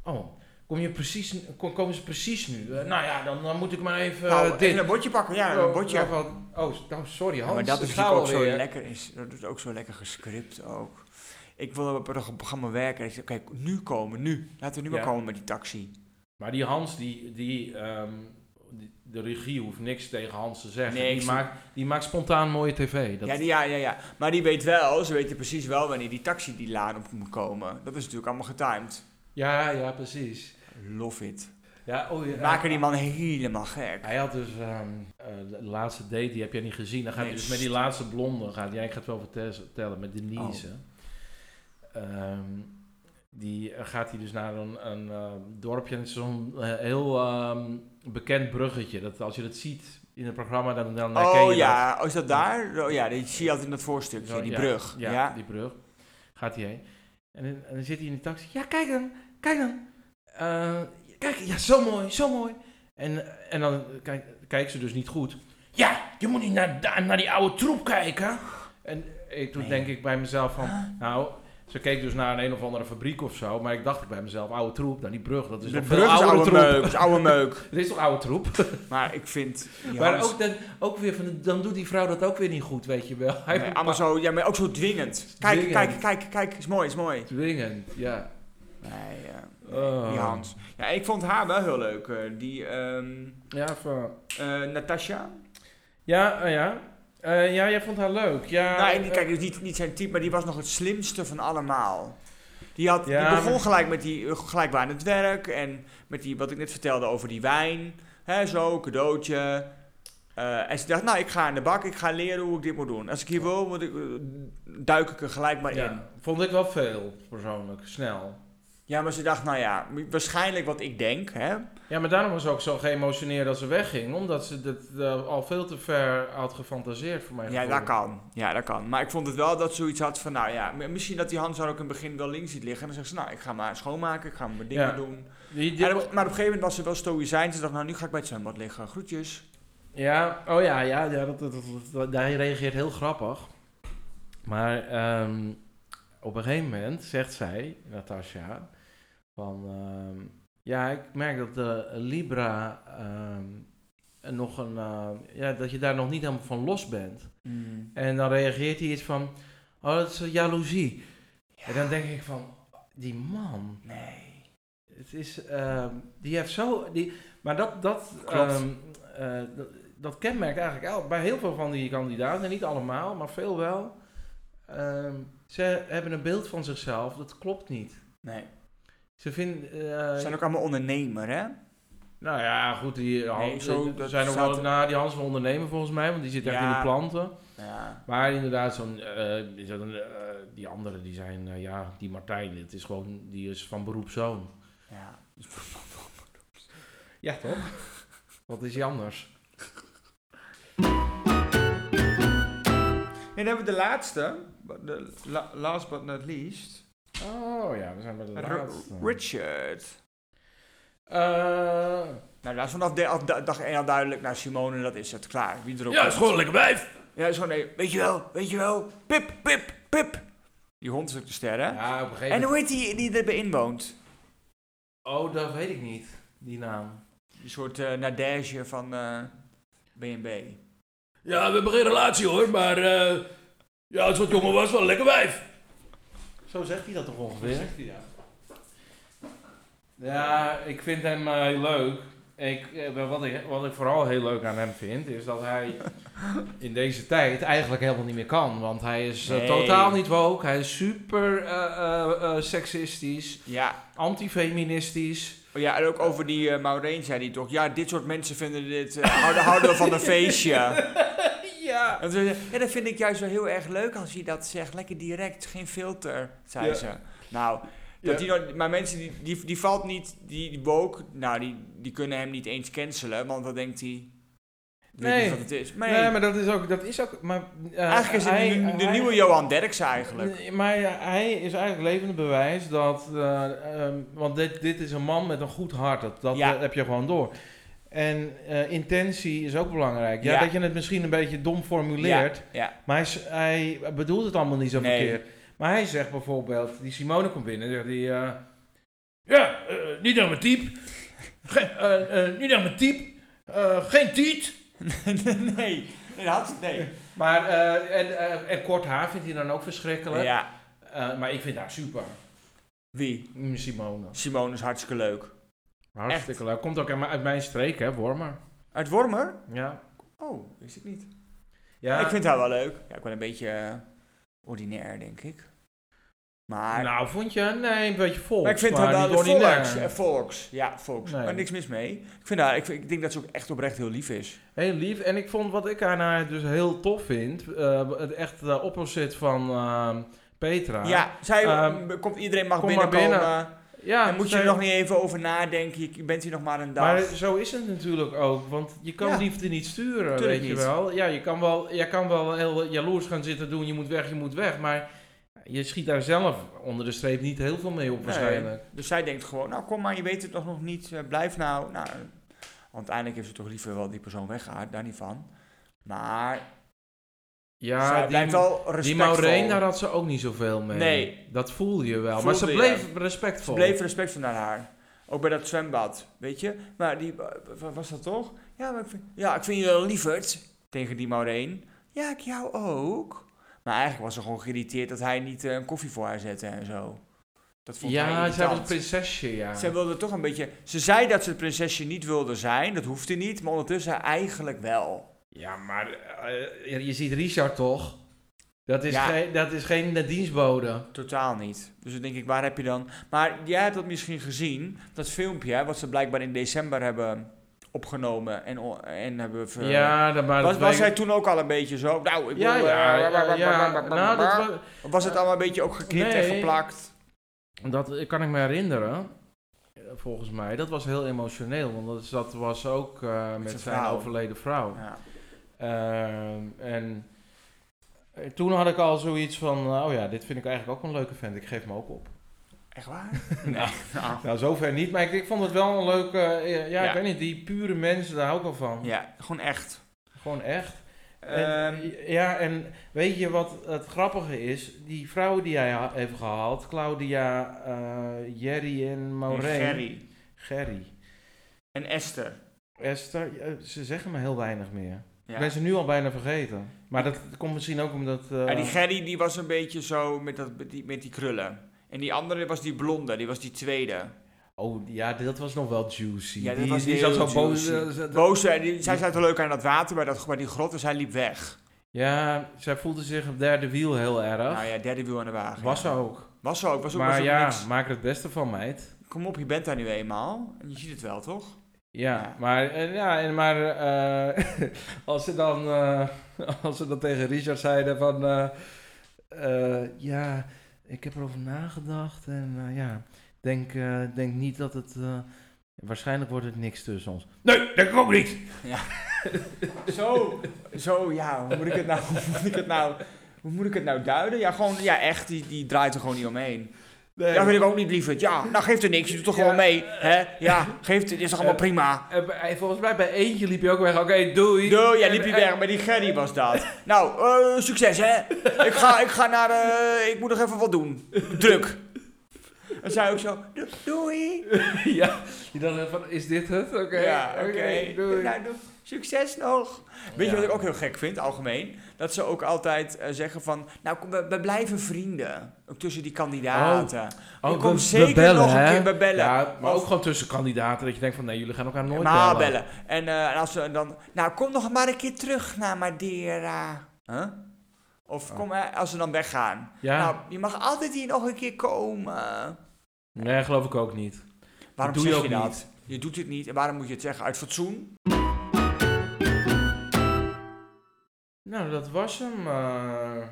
[SPEAKER 2] Oh, kom je precies, nu- kom, komen ze precies nu? Eh, nou ja, dan, dan moet ik maar even
[SPEAKER 1] nou,
[SPEAKER 2] eh,
[SPEAKER 1] even
[SPEAKER 2] dit...
[SPEAKER 1] een bordje pakken, ja,
[SPEAKER 2] Oh,
[SPEAKER 1] een bordje.
[SPEAKER 2] nou, van- oh, nou, sorry Hans.
[SPEAKER 1] Ja, maar dat is
[SPEAKER 2] ik ga
[SPEAKER 1] natuurlijk ook zo
[SPEAKER 2] alweer.
[SPEAKER 1] lekker. Is, dat is ook zo lekker gescript ook. Ik wilde op een programma werken. Ik zei, kijk, nu komen, nu. Laten we nu maar
[SPEAKER 2] Ja.
[SPEAKER 1] komen met die taxi.
[SPEAKER 2] Maar die Hans, die, die, ehm, die- de regie hoeft niks tegen Hans te zeggen.
[SPEAKER 1] Nee, ik
[SPEAKER 2] die,
[SPEAKER 1] zie-
[SPEAKER 2] maakt, die maakt spontaan mooie tv. Dat,
[SPEAKER 1] Ja, die, ja, ja, ja. Maar die weet wel, ze weten precies wel wanneer die taxi die laan op moet komen. Dat is natuurlijk allemaal getimed.
[SPEAKER 2] ja, ja, precies.
[SPEAKER 1] Love it.
[SPEAKER 2] Ja, oh, ja,
[SPEAKER 1] Maken die man helemaal gek.
[SPEAKER 2] Hij had dus ehm, eh, de laatste date, die heb jij niet gezien. Dan gaat
[SPEAKER 1] Nee,
[SPEAKER 2] hij dus met die laatste blonde, gaat hij, ik ga het wel vertes- vertellen, met Denise.
[SPEAKER 1] Oh.
[SPEAKER 2] Ehm, die eh, gaat hij dus naar een, een eh, dorpje en het is zo'n eh, heel ehm, bekend bruggetje. Dat als je dat ziet in het programma, dan, dan herken
[SPEAKER 1] Oh
[SPEAKER 2] je dat.
[SPEAKER 1] ja, oh, is dat daar? Oh, ja, die zie je altijd in dat
[SPEAKER 2] Zo,
[SPEAKER 1] voorstukje, die
[SPEAKER 2] ja,
[SPEAKER 1] brug.
[SPEAKER 2] Ja,
[SPEAKER 1] Ja.
[SPEAKER 2] die brug. Gaat hij heen. En, dan- en dan zit hij in de taxi. Ja, kijk dan. Kijk dan. Eh, kijk, ja, zo mooi, zo mooi. En, en dan kijk- kijkt ze dus niet goed. Ja, je moet niet naar, da- naar die oude troep kijken. En eh, toen
[SPEAKER 1] Nee.
[SPEAKER 2] denk ik bij mezelf van... Nou, ze keek dus naar een, een of andere fabriek of zo. Maar ik dacht bij mezelf, oude troep, dan die brug. Dat is
[SPEAKER 1] De
[SPEAKER 2] nog
[SPEAKER 1] brug is
[SPEAKER 2] veel oude
[SPEAKER 1] oude
[SPEAKER 2] troep.
[SPEAKER 1] meuk, is oude meuk.
[SPEAKER 2] Het is toch oude troep?
[SPEAKER 1] Maar ik vind... die
[SPEAKER 2] maar
[SPEAKER 1] Hans-
[SPEAKER 2] ook, dan, ook weer van, dan doet die vrouw dat ook weer niet goed, weet je wel. Hij
[SPEAKER 1] Nee, allemaal zo, ja, maar ook zo dwingend. Kijk,
[SPEAKER 2] Dwingend.
[SPEAKER 1] kijk, kijk, kijk, is mooi, is mooi.
[SPEAKER 2] Dwingend, ja.
[SPEAKER 1] Nee, eh,
[SPEAKER 2] Oh.
[SPEAKER 1] die Hans. Ja, ik vond haar wel heel leuk. eh, die ehm
[SPEAKER 2] Ja, van...
[SPEAKER 1] eh, Natasha.
[SPEAKER 2] Ja, eh, ja. Eh, ja, jij vond haar leuk. Ja,
[SPEAKER 1] nou, en,
[SPEAKER 2] eh,
[SPEAKER 1] kijk, dus niet, niet zijn type, maar die was nog het slimste van allemaal. Die, had,
[SPEAKER 2] Ja,
[SPEAKER 1] die begon
[SPEAKER 2] maar-
[SPEAKER 1] gelijk met die, eh, gelijk bij aan het werk en met die, wat ik net vertelde over die wijn. Hè, zo, cadeautje. Eh, en ze dacht, nou, ik ga aan de bak, ik ga leren hoe ik dit moet doen. Als ik hier wil, moet ik, eh, duik ik er gelijk maar in.
[SPEAKER 2] ja, vond ik wel veel, persoonlijk. Snel.
[SPEAKER 1] Ja, maar ze dacht, nou ja, waarschijnlijk wat ik denk, hè.
[SPEAKER 2] Ja, maar daarom was ze ook zo geëmotioneerd als ze wegging. Omdat ze dit eh, al veel te ver had gefantaseerd voor mij.
[SPEAKER 1] Ja, dat kan. Ja, dat kan. Maar ik vond het wel dat ze zoiets had van, nou ja, m- misschien dat die Hans haar ook in het begin wel links ziet liggen. En dan zegt ze, nou, ik ga maar schoonmaken, ik ga mijn dingen
[SPEAKER 2] Ja.
[SPEAKER 1] doen.
[SPEAKER 2] Die, die-
[SPEAKER 1] En op- maar op een gegeven moment was ze wel stoïcijn. Ze dacht, nou, nu ga ik bij het zwembad liggen. Groetjes.
[SPEAKER 2] Ja, oh ja, ja, ja dat, dat, dat, dat- hij reageert heel grappig. Maar ehm, op een gegeven moment zegt zij, Natasja, van... ehm, ja, ik merk dat de Libra ehm, en nog een... eh, ja, dat je daar nog niet helemaal van los bent. En dan reageert hij iets van... Oh, dat is eh, jaloezie. En dan denk ik van... Die man,
[SPEAKER 1] Nee.
[SPEAKER 2] het is... ehm, die heeft zo... Die, maar dat... dat
[SPEAKER 1] Klopt.
[SPEAKER 2] ehm, eh, dat, dat kenmerkt eigenlijk al, bij heel veel van die kandidaten. Niet allemaal, maar veel wel. Ehm, ze hebben een beeld van zichzelf. Dat klopt niet.
[SPEAKER 1] Nee.
[SPEAKER 2] Ze vinden... eh,
[SPEAKER 1] Ze zijn ook allemaal ondernemer, hè?
[SPEAKER 2] nou ja, goed. Die Hans,
[SPEAKER 1] zo,
[SPEAKER 2] die-
[SPEAKER 1] dat
[SPEAKER 2] zijn nog
[SPEAKER 1] staat
[SPEAKER 2] wel...
[SPEAKER 1] er-
[SPEAKER 2] Nou, die Hans wil ondernemen volgens mij. Want die zit echt
[SPEAKER 1] Ja.
[SPEAKER 2] in de planten.
[SPEAKER 1] Ja.
[SPEAKER 2] Maar inderdaad, zo'n, eh, zo'n, eh, die anderen die zijn, eh, ja, die Martijn, het is gewoon, die is van beroep zoon.
[SPEAKER 1] ja.
[SPEAKER 2] Ja, toch? Wat is hij anders?
[SPEAKER 1] dan hebben we de laatste. De la- last but not least.
[SPEAKER 2] Oh ja, we zijn bij de
[SPEAKER 1] R-
[SPEAKER 2] laatste.
[SPEAKER 1] Richard.
[SPEAKER 2] Eh,
[SPEAKER 1] Nou, dat is vanaf de- af- da- dag 1 al duidelijk naar Simone. Dat is het klaar. Wie erop
[SPEAKER 2] ja,
[SPEAKER 1] komt.
[SPEAKER 2] is gewoon een lekker wijf.
[SPEAKER 1] Ja, is gewoon... nee, weet je wel, weet je wel. Pip, pip, pip. Die hond is ook de ster, hè?
[SPEAKER 2] Ja, op een gegeven
[SPEAKER 1] En
[SPEAKER 2] moment.
[SPEAKER 1] hoe heet die die erbij inwoont?
[SPEAKER 2] Oh, dat weet ik niet, die naam.
[SPEAKER 1] Een soort eh nadege van eh B&B.
[SPEAKER 2] Ja, we hebben geen relatie hoor, maar. eh ja, als wat jongen was, wel een lekker wijf. Zo zegt hij dat toch ongeveer? ja. ik vind hem eh, leuk. Ik, eh, wat, ik, wat ik vooral heel leuk aan hem vind, is dat hij in deze tijd eigenlijk helemaal niet meer kan. Want hij is eh,
[SPEAKER 1] Nee.
[SPEAKER 2] totaal niet woke. Hij is super eh, eh, eh, seksistisch,
[SPEAKER 1] Ja.
[SPEAKER 2] antifeministisch.
[SPEAKER 1] Oh ja, en ook over die eh Maureen zei hij toch. Ja, dit soort mensen vinden dit... eh, houden, houden van een feestje.
[SPEAKER 2] ja.
[SPEAKER 1] En toen zei ze, ja, dat vind ik juist wel heel erg leuk als je dat zegt. Lekker direct, geen filter, zei
[SPEAKER 2] Ja.
[SPEAKER 1] ze. Nou, dat die, nog- maar mensen, die, die, die valt niet... Die, die woke, nou, die, die kunnen hem niet eens cancelen. Want dan denkt hij... Ik weet
[SPEAKER 2] Nee.
[SPEAKER 1] niet wat het is. Maar,
[SPEAKER 2] Nee, maar dat is ook. Dat is ook maar, eh,
[SPEAKER 1] eigenlijk is het
[SPEAKER 2] hij-
[SPEAKER 1] de, de
[SPEAKER 2] hij-
[SPEAKER 1] nieuwe Johan Derksen eigenlijk.
[SPEAKER 2] Nee, Maar hij is eigenlijk levend bewijs dat. eh, ehm, want dit, dit is een man met een goed hart. Dat, dat
[SPEAKER 1] Ja.
[SPEAKER 2] eh, heb je gewoon door. En eh, intentie is ook belangrijk. Ja,
[SPEAKER 1] Ja.
[SPEAKER 2] dat je het misschien een beetje dom formuleert.
[SPEAKER 1] Ja,
[SPEAKER 2] Maar hij, is- hij bedoelt het allemaal niet zo
[SPEAKER 1] Nee.
[SPEAKER 2] verkeerd. Maar hij zegt bijvoorbeeld, die Simone komt binnen en zegt die... eh, ja, eh, niet naar mijn type. Ge- eh, eh, niet naar mijn type. Eh, geen tiet.
[SPEAKER 1] nee, dat had het nee.
[SPEAKER 2] Maar, eh, en, eh, en kort haar vindt hij dan ook verschrikkelijk.
[SPEAKER 1] Ja,
[SPEAKER 2] Eh, maar ik vind haar super.
[SPEAKER 1] wie?
[SPEAKER 2] Mm, Simone.
[SPEAKER 1] Simone is hartstikke leuk.
[SPEAKER 2] Hartstikke leuk. Komt ook uit mijn- uit mijn streek, hè, Wormer.
[SPEAKER 1] Uit Wormer?
[SPEAKER 2] Ja.
[SPEAKER 1] Oh, wist ik niet.
[SPEAKER 2] ja.
[SPEAKER 1] Ik vind haar wel leuk. Ja, ik ben een beetje eh, ordinair, denk ik. Maar,
[SPEAKER 2] Nou, vond je? Nee, een beetje vol.
[SPEAKER 1] maar ik vind haar wel
[SPEAKER 2] niet
[SPEAKER 1] volks.
[SPEAKER 2] ordinair.
[SPEAKER 1] eh, volks. Ja, volks.
[SPEAKER 2] Nee.
[SPEAKER 1] Maar niks mis mee. Ik, vind haar, ik, vind- ik denk dat ze ook echt oprecht heel lief is.
[SPEAKER 2] Heel lief. En ik vond wat ik aan haar dus heel tof vind. eh, het echt de opposite van ehm, Petra.
[SPEAKER 1] Ja, zij
[SPEAKER 2] Ehm,
[SPEAKER 1] komt, iedereen mag
[SPEAKER 2] kom maar
[SPEAKER 1] binnenkomen.
[SPEAKER 2] ja
[SPEAKER 1] en moet je
[SPEAKER 2] zij-
[SPEAKER 1] er nog niet even over nadenken. Je- Je bent hier nog maar een dag.
[SPEAKER 2] Maar zo is het natuurlijk ook. Want je kan
[SPEAKER 1] Ja.
[SPEAKER 2] liefde niet sturen,
[SPEAKER 1] Tuurlijk
[SPEAKER 2] weet
[SPEAKER 1] niet.
[SPEAKER 2] je wel. Ja, je kan wel, je kan wel heel jaloers gaan zitten doen. Je moet weg, je moet weg. Maar je schiet daar zelf onder de streep niet heel veel mee op waarschijnlijk.
[SPEAKER 1] Dus zij denkt gewoon, nou kom maar, je weet het nog, nog niet, eh, blijf nou. nou. Want uiteindelijk heeft ze toch liever wel die persoon weggehaald, daar niet van. Maar
[SPEAKER 2] Ja,
[SPEAKER 1] zij
[SPEAKER 2] die-
[SPEAKER 1] blijft wel respectvol.
[SPEAKER 2] Die Maureen, nou, daar had ze ook niet zoveel mee.
[SPEAKER 1] Nee.
[SPEAKER 2] Dat voelde je wel. maar
[SPEAKER 1] Voelde
[SPEAKER 2] ze
[SPEAKER 1] je.
[SPEAKER 2] bleef
[SPEAKER 1] Ze
[SPEAKER 2] respectvol.
[SPEAKER 1] bleef respectvol naar haar. Ook bij dat zwembad, weet je. Maar die, wa- wa- was dat toch? Ja, maar ik vind, ja, ik vind je wel lieverd. Tegen die Maureen. Ja, ik jou ook. Maar eigenlijk was ze gewoon geïrriteerd dat hij niet eh, een koffie voor haar zette en zo. Dat vond hij
[SPEAKER 2] ja,
[SPEAKER 1] irritant.
[SPEAKER 2] ze was een prinsesje, ja.
[SPEAKER 1] Zij wilde toch een beetje. Ze zei dat ze het prinsesje niet wilde zijn, dat hoefde niet, maar ondertussen eigenlijk wel.
[SPEAKER 2] Ja, maar eh, je- je ziet Richard toch? Dat is,
[SPEAKER 1] Ja.
[SPEAKER 2] geen, dat is geen eh, dienstbode.
[SPEAKER 1] Totaal niet. Dus dan denk ik, waar heb je dan. Maar jij hebt dat misschien gezien, dat filmpje, hè, wat ze blijkbaar in december hebben opgenomen en, o- en hebben. ver-
[SPEAKER 2] ja, dat, maar
[SPEAKER 1] Was,
[SPEAKER 2] dat
[SPEAKER 1] was
[SPEAKER 2] weet
[SPEAKER 1] hij toen ook al een beetje zo? Nou, ik
[SPEAKER 2] Ja,
[SPEAKER 1] wil,
[SPEAKER 2] ja,
[SPEAKER 1] eh,
[SPEAKER 2] ja, ja, Nou, dat, wa-
[SPEAKER 1] Of was het allemaal een beetje ook geknipt en
[SPEAKER 2] Nee.
[SPEAKER 1] geplakt?
[SPEAKER 2] dat kan ik me herinneren. eh, Volgens mij, dat was heel emotioneel. Want dat, is- dat was ook eh, met
[SPEAKER 1] zijn
[SPEAKER 2] zijn
[SPEAKER 1] vrouw.
[SPEAKER 2] overleden vrouw.
[SPEAKER 1] Ja.
[SPEAKER 2] Ehm, en eh, toen had ik al zoiets van, oh ja, dit vind ik eigenlijk ook een leuke vent. Ik geef hem ook op.
[SPEAKER 1] Echt waar?
[SPEAKER 2] Nou.
[SPEAKER 1] Nou.
[SPEAKER 2] Nou, zover niet, maar ik, ik vond het wel een leuke, eh, ja,
[SPEAKER 1] Ja.
[SPEAKER 2] ik weet niet, die pure mensen, daar hou ik wel van.
[SPEAKER 1] Ja, gewoon echt.
[SPEAKER 2] Gewoon echt. En, eh,
[SPEAKER 1] Ehm,
[SPEAKER 2] ja, en weet je wat het grappige is? Die vrouw die hij ha- heeft gehaald, Claudia, eh, Jerry en Maureen.
[SPEAKER 1] Gerry
[SPEAKER 2] Gerry.
[SPEAKER 1] en Esther.
[SPEAKER 2] Esther, eh, ze zeggen me heel weinig meer. Ik
[SPEAKER 1] Ja.
[SPEAKER 2] ben ze nu al bijna vergeten. Maar dat komt misschien ook omdat... eh,
[SPEAKER 1] Ja, Ah, die Gerry die was een beetje zo met, dat, met, die, met die krullen. En die andere was die blonde, die was die tweede.
[SPEAKER 2] Oh, ja, dat was nog wel juicy.
[SPEAKER 1] Ja, dat
[SPEAKER 2] die
[SPEAKER 1] was
[SPEAKER 2] die
[SPEAKER 1] heel
[SPEAKER 2] zat zo boos.
[SPEAKER 1] juicy.
[SPEAKER 2] eh, zat-
[SPEAKER 1] Boze, en die, zij zat wel leuk aan dat water bij, dat, bij die grot en zij liep weg.
[SPEAKER 2] Ja, zij voelde zich op derde wiel heel erg.
[SPEAKER 1] Nou ja, derde wiel aan de wagen.
[SPEAKER 2] was
[SPEAKER 1] ja.
[SPEAKER 2] ze ook.
[SPEAKER 1] Was zo ook, was ook, was
[SPEAKER 2] maar
[SPEAKER 1] ook
[SPEAKER 2] ja,
[SPEAKER 1] niks.
[SPEAKER 2] maak er het beste van, meid.
[SPEAKER 1] Kom op, je bent daar nu eenmaal. En je ziet het wel, toch?
[SPEAKER 2] Ja,
[SPEAKER 1] Ja.
[SPEAKER 2] maar, eh, ja, en maar eh, als ze dan eh, als ze dan tegen Richard zeiden van... eh, eh, ja, ik heb erover nagedacht en eh, ja, denk, eh, denk niet dat het... eh, waarschijnlijk wordt het niks tussen ons. Nee, denk ik ook niet!
[SPEAKER 1] Zo, zo ja, hoe moet ik het nou? Hoe moet ik het nou? Hoe moet ik het nou duiden? Ja, gewoon, ja echt, die, die draait er gewoon niet omheen.
[SPEAKER 2] Nee.
[SPEAKER 1] Ja, wil ik ook niet, lieverd. Ja, nou geeft er niks, je doet toch
[SPEAKER 2] Ja.
[SPEAKER 1] gewoon mee. Hè? Ja, geeft het, is toch allemaal
[SPEAKER 2] Eh,
[SPEAKER 1] prima.
[SPEAKER 2] En bij- volgens mij bij eentje liep je ook weg. Oké, doei.
[SPEAKER 1] Doe, jij
[SPEAKER 2] En-
[SPEAKER 1] liep je
[SPEAKER 2] en-
[SPEAKER 1] weg, maar die Gerry was dat. Nou, eh, succes hè. Ik ga, ik ga naar, eh, ik moet nog even wat doen. Druk. En zij ook zo, "Do- doei.
[SPEAKER 2] ja, je dacht van, is dit het? Oké,
[SPEAKER 1] ja, oké.
[SPEAKER 2] oké, doei.
[SPEAKER 1] Nou, doe- succes nog. Weet je
[SPEAKER 2] Ja.
[SPEAKER 1] wat ik ook heel gek vind, algemeen? Dat ze ook altijd eh, zeggen van, nou, kom, we, we blijven vrienden. Ook tussen die kandidaten.
[SPEAKER 2] Oh,
[SPEAKER 1] je komt
[SPEAKER 2] we- we
[SPEAKER 1] zeker
[SPEAKER 2] bellen,
[SPEAKER 1] nog een
[SPEAKER 2] hè?
[SPEAKER 1] keer bij bellen.
[SPEAKER 2] Ja, maar
[SPEAKER 1] Of-
[SPEAKER 2] ook gewoon tussen kandidaten. Dat je denkt van, nee, jullie gaan elkaar nooit
[SPEAKER 1] maar
[SPEAKER 2] bellen.
[SPEAKER 1] bellen. En, eh, en als ze dan, nou kom nog maar een keer terug naar Madeira. Huh? Of
[SPEAKER 2] Oh.
[SPEAKER 1] kom, eh, als ze dan weggaan.
[SPEAKER 2] Ja,
[SPEAKER 1] Nou, je mag altijd hier nog een keer komen.
[SPEAKER 2] nee, geloof ik ook niet.
[SPEAKER 1] Waarom
[SPEAKER 2] doe je
[SPEAKER 1] zeg je,
[SPEAKER 2] ook
[SPEAKER 1] dat?
[SPEAKER 2] niet.
[SPEAKER 1] Je doet het niet en waarom moet je het zeggen? Uit fatsoen?
[SPEAKER 2] Nou, dat was hem. eh.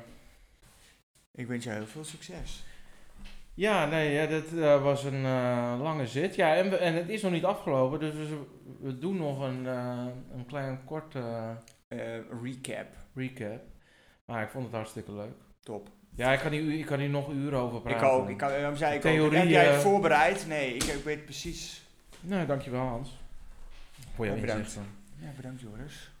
[SPEAKER 1] Ik wens je heel veel succes.
[SPEAKER 2] Ja, nee, ja, dat eh, was een eh, lange zit. Ja, en, we- en het is nog niet afgelopen, dus we, we doen nog een, eh, een klein kort eh,
[SPEAKER 1] Eh, recap.
[SPEAKER 2] recap. Maar ik vond het hartstikke leuk.
[SPEAKER 1] Top.
[SPEAKER 2] Ja, ik kan hier, u- ik kan hier nog uren over
[SPEAKER 1] Ik
[SPEAKER 2] praten.
[SPEAKER 1] ook. Ik kan, daarom zei ik ook.
[SPEAKER 2] Theorie,
[SPEAKER 1] Heb jij
[SPEAKER 2] eh,
[SPEAKER 1] het voorbereid? Nee, ik, ik weet precies.
[SPEAKER 2] Nou, dankjewel Hans. Voor jouw
[SPEAKER 1] Ja, bedankt.
[SPEAKER 2] inzichten.
[SPEAKER 1] Ja, bedankt Joris.